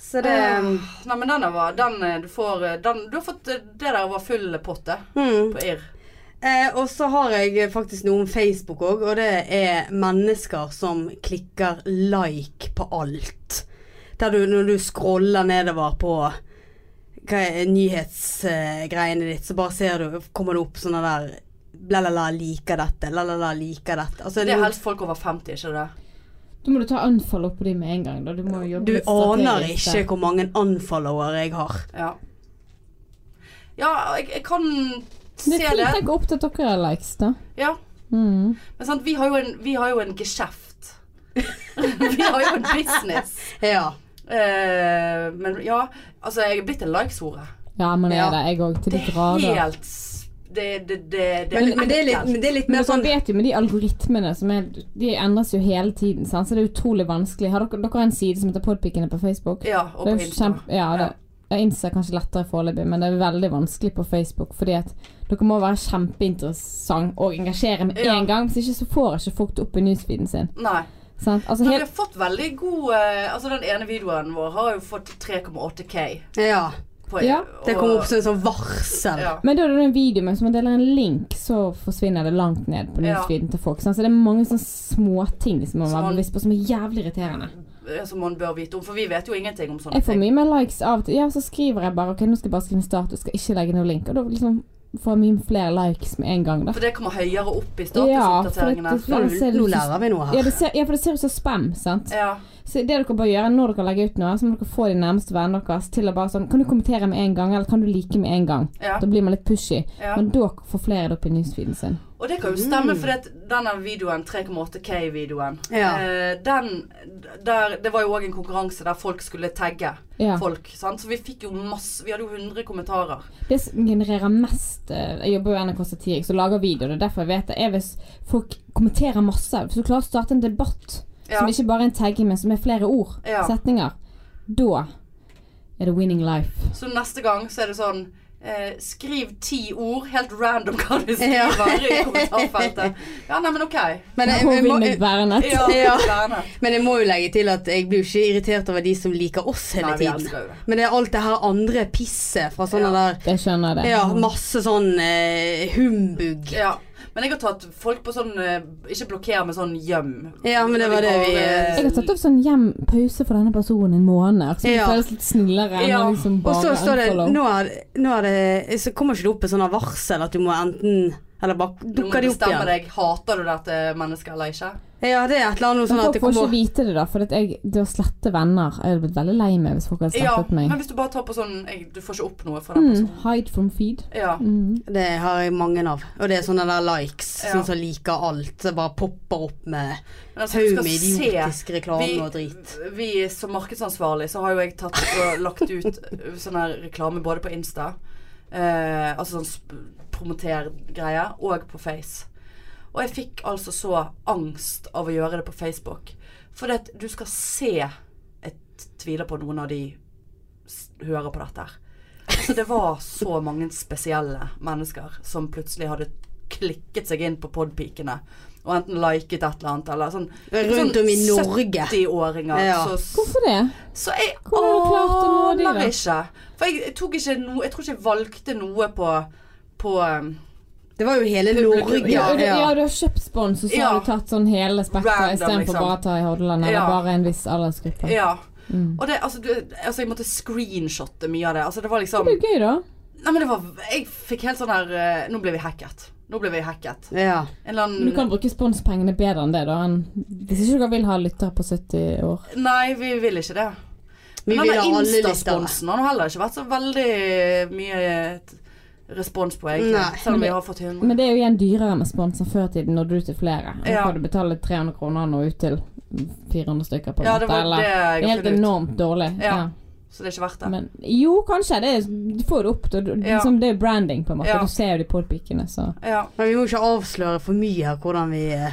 Speaker 2: Så det
Speaker 1: Ah, Nei, men denne var Den eh, du får eh, den, Du har fått eh, Det der var full potte
Speaker 2: mm.
Speaker 1: på irr.
Speaker 2: eh, Og så har jeg faktisk noe om Facebook òg, og det er mennesker som klikker like på alt. Der du, når du scroller nedover på hva er nyhetsgreiene ditt, så bare ser du Kommer det opp sånne der La-la-la, liker dette. La-la-la, liker dette. Altså,
Speaker 1: Det er
Speaker 2: noen-
Speaker 1: helst folk over 50, ikke det?
Speaker 3: Da må du ta unfollow på de med en gang. Da. Du må jo jobbe
Speaker 2: Du
Speaker 3: litt
Speaker 2: aner
Speaker 3: strategisk
Speaker 2: ikke
Speaker 3: der.
Speaker 2: hvor mange unfollower jeg har.
Speaker 1: Ja. Ja, jeg, jeg kan se
Speaker 3: Det er fint
Speaker 1: det.
Speaker 3: tenk opp til at dere er likes, da.
Speaker 1: Ja.
Speaker 3: Mm.
Speaker 1: Men sant, vi har jo en, vi har jo en geskjeft. <laughs> Vi har jo en business.
Speaker 2: Ja.
Speaker 1: Eh, men ja, altså jeg er blitt en likes-hore.
Speaker 3: Ja, men jeg
Speaker 2: Ja.
Speaker 3: er det, jeg òg. Til
Speaker 1: Det
Speaker 3: de
Speaker 1: er
Speaker 3: grader.
Speaker 1: helt s- Det, det, det, det
Speaker 2: Men, men det er litt, men det er litt
Speaker 3: Men
Speaker 2: mer
Speaker 3: dere
Speaker 2: sånn
Speaker 3: vet jo med de algoritmene som er De endres jo hele tiden, sant? så det er utrolig vanskelig. Har dere, dere har en side som heter Podpikene på Facebook?
Speaker 1: Ja, og på
Speaker 3: Det er jo
Speaker 1: Insta.
Speaker 3: kjempe- ja, det, jeg innser kanskje lettere foreløpig, men det er veldig vanskelig på Facebook. Fordi at dere må være kjempeinteressant og engasjere med
Speaker 1: Ja.
Speaker 3: en gang. Hvis ikke så får ikke folk det opp i newsfeeden sin.
Speaker 1: Nei.
Speaker 3: Sant? Altså,
Speaker 1: Men vi
Speaker 3: helt,
Speaker 1: har fått veldig god eh, Altså Den ene videoen vår har jo fått 3,8K.
Speaker 2: Ja.
Speaker 1: På,
Speaker 3: Ja,
Speaker 2: Det kom
Speaker 1: og-
Speaker 2: opp som et sånt varsel.
Speaker 1: ja.
Speaker 3: men da er det en video, men hvis man deler en link, så forsvinner det langt ned på
Speaker 1: Ja.
Speaker 3: newsfeeden til folk. Sant? Så det er mange sånne småting som man må
Speaker 1: Sånn.
Speaker 3: være bevisst på, som er jævlig irriterende.
Speaker 1: Som man bør vite om, for vi vet jo ingenting om sånne
Speaker 3: Jeg får
Speaker 1: ting.
Speaker 3: mye mer likes av og til. Ja, så skriver jeg bare OK, nå skal jeg bare skrive en status, skal ikke legge noe link. Og da liksom får jeg mye flere likes med en gang, da.
Speaker 1: For det kommer høyere opp i
Speaker 3: Ja, for at
Speaker 1: statusoppdateringene.
Speaker 3: Ja,
Speaker 2: Nå,
Speaker 3: det ser
Speaker 2: nå
Speaker 3: ut som-
Speaker 2: lærer vi noe
Speaker 3: Ja,
Speaker 2: her.
Speaker 3: det ser, ja, for det ser ut som spam, sant.
Speaker 1: Ja.
Speaker 3: Så det dere bør gjøre når dere legger ut noe, så må dere få de nærmeste vennene deres til å bare sånn Kan du kommentere med en gang, eller kan du like med en gang?
Speaker 1: Ja.
Speaker 3: Da blir man litt pushy.
Speaker 1: Ja.
Speaker 3: Men da får flere det opp i newsfeeden sin.
Speaker 1: Og det kan jo stemme, for denne videoen, 3,8K-videoen,
Speaker 2: Mm. Ja.
Speaker 1: eh, den der, Det var jo òg en konkurranse der folk skulle tagge
Speaker 3: Ja.
Speaker 1: folk. Sant? Så vi fikk jo masse Vi hadde jo 100 kommentarer.
Speaker 3: Det som genererer mest eh, Jeg jobber jo i NRK Satirik, så lager videoer. Det er derfor jeg vet det. Er hvis folk kommenterer masse. Hvis du klarer å starte en debatt
Speaker 1: Ja.
Speaker 3: som ikke bare er en tagging, men som er flere ord,
Speaker 1: Ja.
Speaker 3: setninger, da er det winning life.
Speaker 1: Så neste gang så er det sånn eh, Skriv ti ord, helt random hva du
Speaker 2: Ja.
Speaker 1: skriver i kommentarfeltet. Ja, nei, men
Speaker 3: <laughs>
Speaker 1: OK.
Speaker 2: Men jeg, jeg,
Speaker 3: Hun
Speaker 2: må,
Speaker 3: vinner vernet.
Speaker 1: Ja,
Speaker 2: Ja.
Speaker 1: gjerne.
Speaker 2: men jeg må jo legge til at jeg blir jo ikke irritert over de som liker oss hele
Speaker 1: Nei, vi
Speaker 2: tiden.
Speaker 1: elsker jo det.
Speaker 2: Men det er alt det her andre pisset fra
Speaker 1: Ja.
Speaker 2: sånne der
Speaker 3: Jeg skjønner det.
Speaker 2: Ja, masse sånn eh, humbug.
Speaker 1: Ja. Men jeg har tatt folk på sånn eh, Ikke blokker med sånn eh, gjem.
Speaker 2: Ja, men det var det vi
Speaker 1: Jeg
Speaker 3: Jeg har tatt opp sånn hjem pause for denne personen en måned, så det
Speaker 2: Ja.
Speaker 3: føles litt snillere enn
Speaker 1: Ja.
Speaker 3: å liksom
Speaker 2: Og
Speaker 3: bare
Speaker 2: så står det
Speaker 3: unfollow.
Speaker 2: Nå er, nå er det Så kommer ikke det opp et sånt varsel at du må enten Eller bare
Speaker 1: Nå må du
Speaker 2: dukker det opp
Speaker 1: bestemme
Speaker 2: igjen.
Speaker 1: deg. Hater du dette mennesket eller ikke?
Speaker 2: Ja, det er et eller annet noe
Speaker 3: Men
Speaker 2: sånn at
Speaker 3: folk
Speaker 2: det
Speaker 3: får ikke
Speaker 2: kommer
Speaker 3: vite det, da. For at jeg, det å slette venner Jeg hadde blitt veldig lei meg hvis folk hadde
Speaker 1: Ja,
Speaker 3: slettet
Speaker 1: men
Speaker 3: meg.
Speaker 1: hvis du bare tar på sånn jeg, Du får ikke opp noe fra den
Speaker 3: Mm,
Speaker 1: personen.
Speaker 3: hide from feed.
Speaker 1: Ja.
Speaker 3: Mm.
Speaker 2: Det har jeg mange av. Og det er sånne der likes.
Speaker 1: Ja.
Speaker 2: Sånn som liker alt. Som bare popper opp med
Speaker 1: Men altså,
Speaker 2: haug
Speaker 1: du
Speaker 2: med
Speaker 1: skal se
Speaker 2: idiotisk reklame og drit.
Speaker 1: vi som markedsansvarlig, så har jo jeg tatt og lagt ut sånn her reklame både på Insta, eh, altså sånn sp- promoter-greie, og på Face. Og jeg fikk altså så angst av å gjøre det på Facebook. For det at du skal se Jeg tviler på noen av de s hører på dette her. Altså, det var så mange spesielle mennesker som plutselig hadde klikket seg inn på podpikene. Og enten liket et eller annet, eller sånn
Speaker 2: Rundt om i Norge.
Speaker 1: 70-åringer.
Speaker 2: Ja.
Speaker 1: Så,
Speaker 3: Hvorfor det?
Speaker 1: så jeg
Speaker 3: Hvordan har du klart å nå de, da?
Speaker 1: aner ikke. For jeg, jeg tok ikke noe Jeg tror ikke jeg valgte noe på på um,
Speaker 2: Det var jo hele Norge.
Speaker 3: Ja,
Speaker 2: Ja,
Speaker 3: du, ja, du har kjøpt spons, og så
Speaker 1: Ja.
Speaker 3: har du tatt sånn hele
Speaker 1: Random,
Speaker 3: spekteret istedenfor
Speaker 1: liksom.
Speaker 3: bare å ta i Hordaland eller
Speaker 1: Ja.
Speaker 3: bare en viss aldersgruppe.
Speaker 1: Ja.
Speaker 3: Mm.
Speaker 1: Og det, altså, du, altså, jeg måtte screenshotte mye av det. Altså, det var
Speaker 3: Det
Speaker 1: liksom
Speaker 3: blir jo gøy, da.
Speaker 1: Nei, men det var Jeg fikk helt sånn her eh, Nå ble vi hacket. Nå ble vi hacket.
Speaker 2: ja.
Speaker 1: En eller
Speaker 3: Men du
Speaker 1: annen
Speaker 3: kan bruke sponspengene bedre enn det, da. Enn hvis ikke dere vil ha lyttere på 70 år.
Speaker 1: Nei, vi vil ikke det.
Speaker 2: Vi
Speaker 1: Men
Speaker 2: vil ha
Speaker 1: denne
Speaker 2: alle lyttere.
Speaker 1: Insta-sponsen har nå heller ikke vært så veldig mye eh, respons på, egentlig.
Speaker 2: Nei.
Speaker 1: Selv om vi
Speaker 3: Men-
Speaker 1: har fått 100.
Speaker 3: Men det er jo igjen dyrere med spons enn før i tiden, når du er til flere. Nå
Speaker 1: Ja.
Speaker 3: kan du betale 300 kroner og nå ut til 400 stykker på en
Speaker 1: Ja, det
Speaker 3: måte.
Speaker 1: var det
Speaker 3: eller, det
Speaker 1: jeg
Speaker 3: er helt
Speaker 1: finner ut.
Speaker 3: enormt dårlig.
Speaker 1: Ja, Så det er ikke verdt det.
Speaker 3: Men, jo, kanskje. Det er, du får det opp. da. Du,
Speaker 1: Ja.
Speaker 3: liksom, det er branding, på en måte.
Speaker 1: Ja.
Speaker 3: Du ser jo de podpikene, så
Speaker 1: Ja.
Speaker 2: Men vi må ikke avsløre for mye her hvordan vi eh,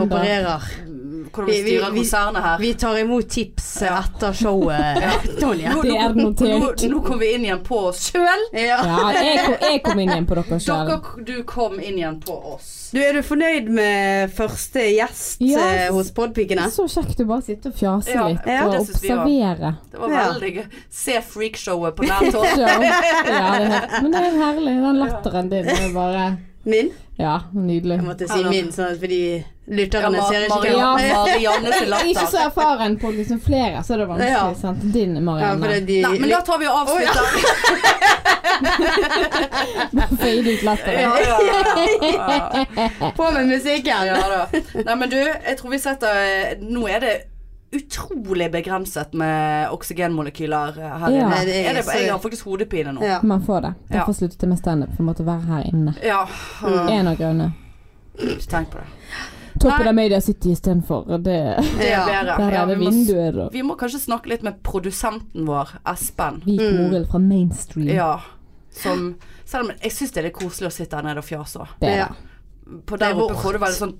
Speaker 2: opererer. opererer.
Speaker 1: Hvordan vi
Speaker 2: Vi- vi-
Speaker 1: styrer
Speaker 2: vi-
Speaker 1: konsernet her.
Speaker 2: Vi tar imot tips eh,
Speaker 1: Ja.
Speaker 2: etter showet, Tonje.
Speaker 1: Nå-
Speaker 3: Det er
Speaker 1: nå-
Speaker 3: notert.
Speaker 1: Nå, nå kom vi inn igjen på oss sjøl.
Speaker 2: Ja.
Speaker 3: Ja, jeg, kom- jeg kom inn igjen på dere sjøl.
Speaker 1: <laughs> Dere, du kom inn igjen på oss.
Speaker 2: Du, er du fornøyd med første gjest
Speaker 3: Ja.
Speaker 2: eh, hos Podpikene?
Speaker 3: Så kjekt å bare sitte og fjase
Speaker 1: Ja,
Speaker 3: litt
Speaker 2: ja,
Speaker 3: og
Speaker 1: det synes vi var.
Speaker 3: observere.
Speaker 1: Det var
Speaker 2: Ja.
Speaker 1: veldig gøy. Se freakshowet på nært
Speaker 3: Så,
Speaker 1: hold.
Speaker 3: ja, det er, helt- men det er herlig. Den latteren din er bare
Speaker 2: Min?
Speaker 3: Ja, nydelig.
Speaker 2: Jeg måtte si
Speaker 1: Hallo.
Speaker 2: min, sånn at fordi
Speaker 1: Ja,
Speaker 2: lytterne
Speaker 1: Ma-
Speaker 2: ser ikke
Speaker 1: Marianne,
Speaker 2: hva
Speaker 3: hvem- Ja.
Speaker 1: Marianne sin
Speaker 3: Jeg er ikke så
Speaker 1: latter.
Speaker 3: erfaren på liksom flere, så er det vanskelig.
Speaker 2: Ja.
Speaker 3: Sant? Din,
Speaker 2: Ja,
Speaker 3: Marianne.
Speaker 2: for det er de,
Speaker 1: Nei, men da tar vi og avslutter.
Speaker 3: <laughs> Fade ut latteren.
Speaker 1: Ja, ja, ja.
Speaker 2: På med musikken!
Speaker 1: ja da. Nei, men du, jeg tror vi setter Nå er det utrolig begrenset med oksygenmolekyler her
Speaker 3: Ja.
Speaker 1: inne.
Speaker 2: Nei, det er
Speaker 1: Er det,
Speaker 2: så-
Speaker 1: jeg har faktisk hodepine nå.
Speaker 2: Ja.
Speaker 3: Man får det. Derfor
Speaker 1: Ja.
Speaker 3: sluttet jeg med standup. For å måtte være her inne.
Speaker 1: Ja.
Speaker 3: En av grunnene.
Speaker 1: Tenk på det.
Speaker 3: Top of
Speaker 1: Nei.
Speaker 3: the Media City istedenfor. Det,
Speaker 1: Det er
Speaker 2: Ja.
Speaker 1: bedre.
Speaker 3: <laughs> der
Speaker 1: Ja,
Speaker 3: er det
Speaker 1: vi, må,
Speaker 3: vinduer og
Speaker 1: vi må kanskje snakke litt med produsenten vår, Espen.
Speaker 3: hvit Morild fra Mainstream.
Speaker 1: Ja. Som Selv om jeg syns det er litt koselig å sitte her nede og fjase òg.
Speaker 3: Det er
Speaker 2: Ja.
Speaker 3: det.
Speaker 1: På der
Speaker 2: Det er
Speaker 1: oppe
Speaker 2: vårt.
Speaker 1: får du være sånn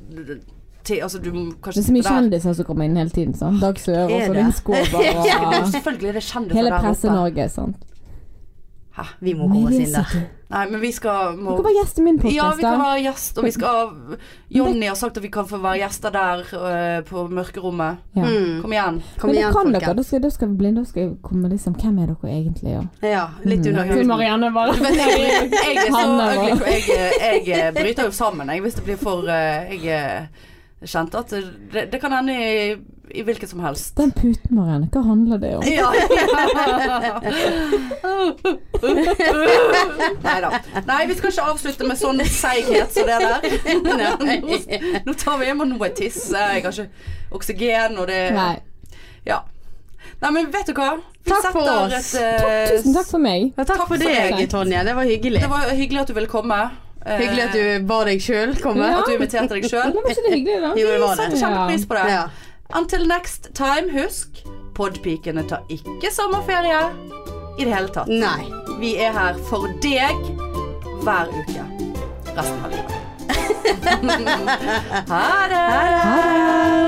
Speaker 1: til, Altså, du må
Speaker 3: Det
Speaker 1: kanskje
Speaker 3: er så mye
Speaker 1: sitte der.
Speaker 3: kjendiser som kommer inn hele tiden. Sant? Dag Søre og
Speaker 2: Er
Speaker 3: Linn
Speaker 2: det?
Speaker 3: Skåber
Speaker 1: Ja,
Speaker 3: og
Speaker 1: selvfølgelig er det kjendiser
Speaker 3: hele
Speaker 1: der oppe.
Speaker 3: Presse-Norge. sånn. sant?
Speaker 1: Hæ?
Speaker 2: Vi må komme oss inn der.
Speaker 3: City.
Speaker 1: Nei, men vi skal
Speaker 3: Du
Speaker 1: må,
Speaker 3: kan være gjest i min
Speaker 1: Ja, vi
Speaker 3: podkast,
Speaker 1: kan
Speaker 3: da.
Speaker 1: være gjest, og vi skal Jonny har sagt at vi kan få være gjester der eh, på mørkerommet.
Speaker 3: Ja.
Speaker 2: Mm.
Speaker 1: Kom igjen.
Speaker 2: Kom
Speaker 3: Men det
Speaker 2: igjen,
Speaker 3: kan dere.
Speaker 2: folkens.
Speaker 3: Da skal, da skal vi blinde, da skal vi komme liksom Hvem er dere egentlig? Ja.
Speaker 2: Ja, litt under
Speaker 3: Til
Speaker 2: huden.
Speaker 3: Marianne,
Speaker 2: <laughs>
Speaker 3: bare.
Speaker 1: Men jeg, jeg er så
Speaker 3: Han er
Speaker 1: ugly, for jeg, jeg bryter jo sammen jeg, hvis det blir for eh, Jeg eh, kjente at det, det kan hende i, i hvilket som helst.
Speaker 3: Den puten, Marianne, hva handler det om?
Speaker 2: <laughs>
Speaker 1: Ja. Nei da. Nei, vi skal ikke avslutte med sånn seighet som det
Speaker 2: <laughs>
Speaker 1: der. Nå, nå tar vi hjem og noe tiss. Jeg har ikke oksygen, og det
Speaker 3: Nei.
Speaker 1: Ja. Nei, men vet du hva? Vi
Speaker 2: Takk for
Speaker 1: setter
Speaker 2: oss.
Speaker 1: eh,
Speaker 3: Tusen takk for meg.
Speaker 2: Ja, takk for deg, Tonje. Det var hyggelig.
Speaker 1: Det var hyggelig at du ville komme. Eh,
Speaker 2: Hyggelig at du ba deg sjøl komme.
Speaker 3: Ja.
Speaker 1: at du inviterte deg
Speaker 3: Men
Speaker 1: sjøl.
Speaker 3: var ikke det hyggelig, da?
Speaker 2: Jo, det var
Speaker 1: Setter
Speaker 2: det.
Speaker 1: kjempepris på det.
Speaker 2: Ja.
Speaker 1: Until next time, husk Podpikene tar ikke sommerferie i det hele tatt.
Speaker 2: Nei.
Speaker 1: Vi er her for deg hver uke resten av livet. <laughs> ha det!
Speaker 3: Ha det!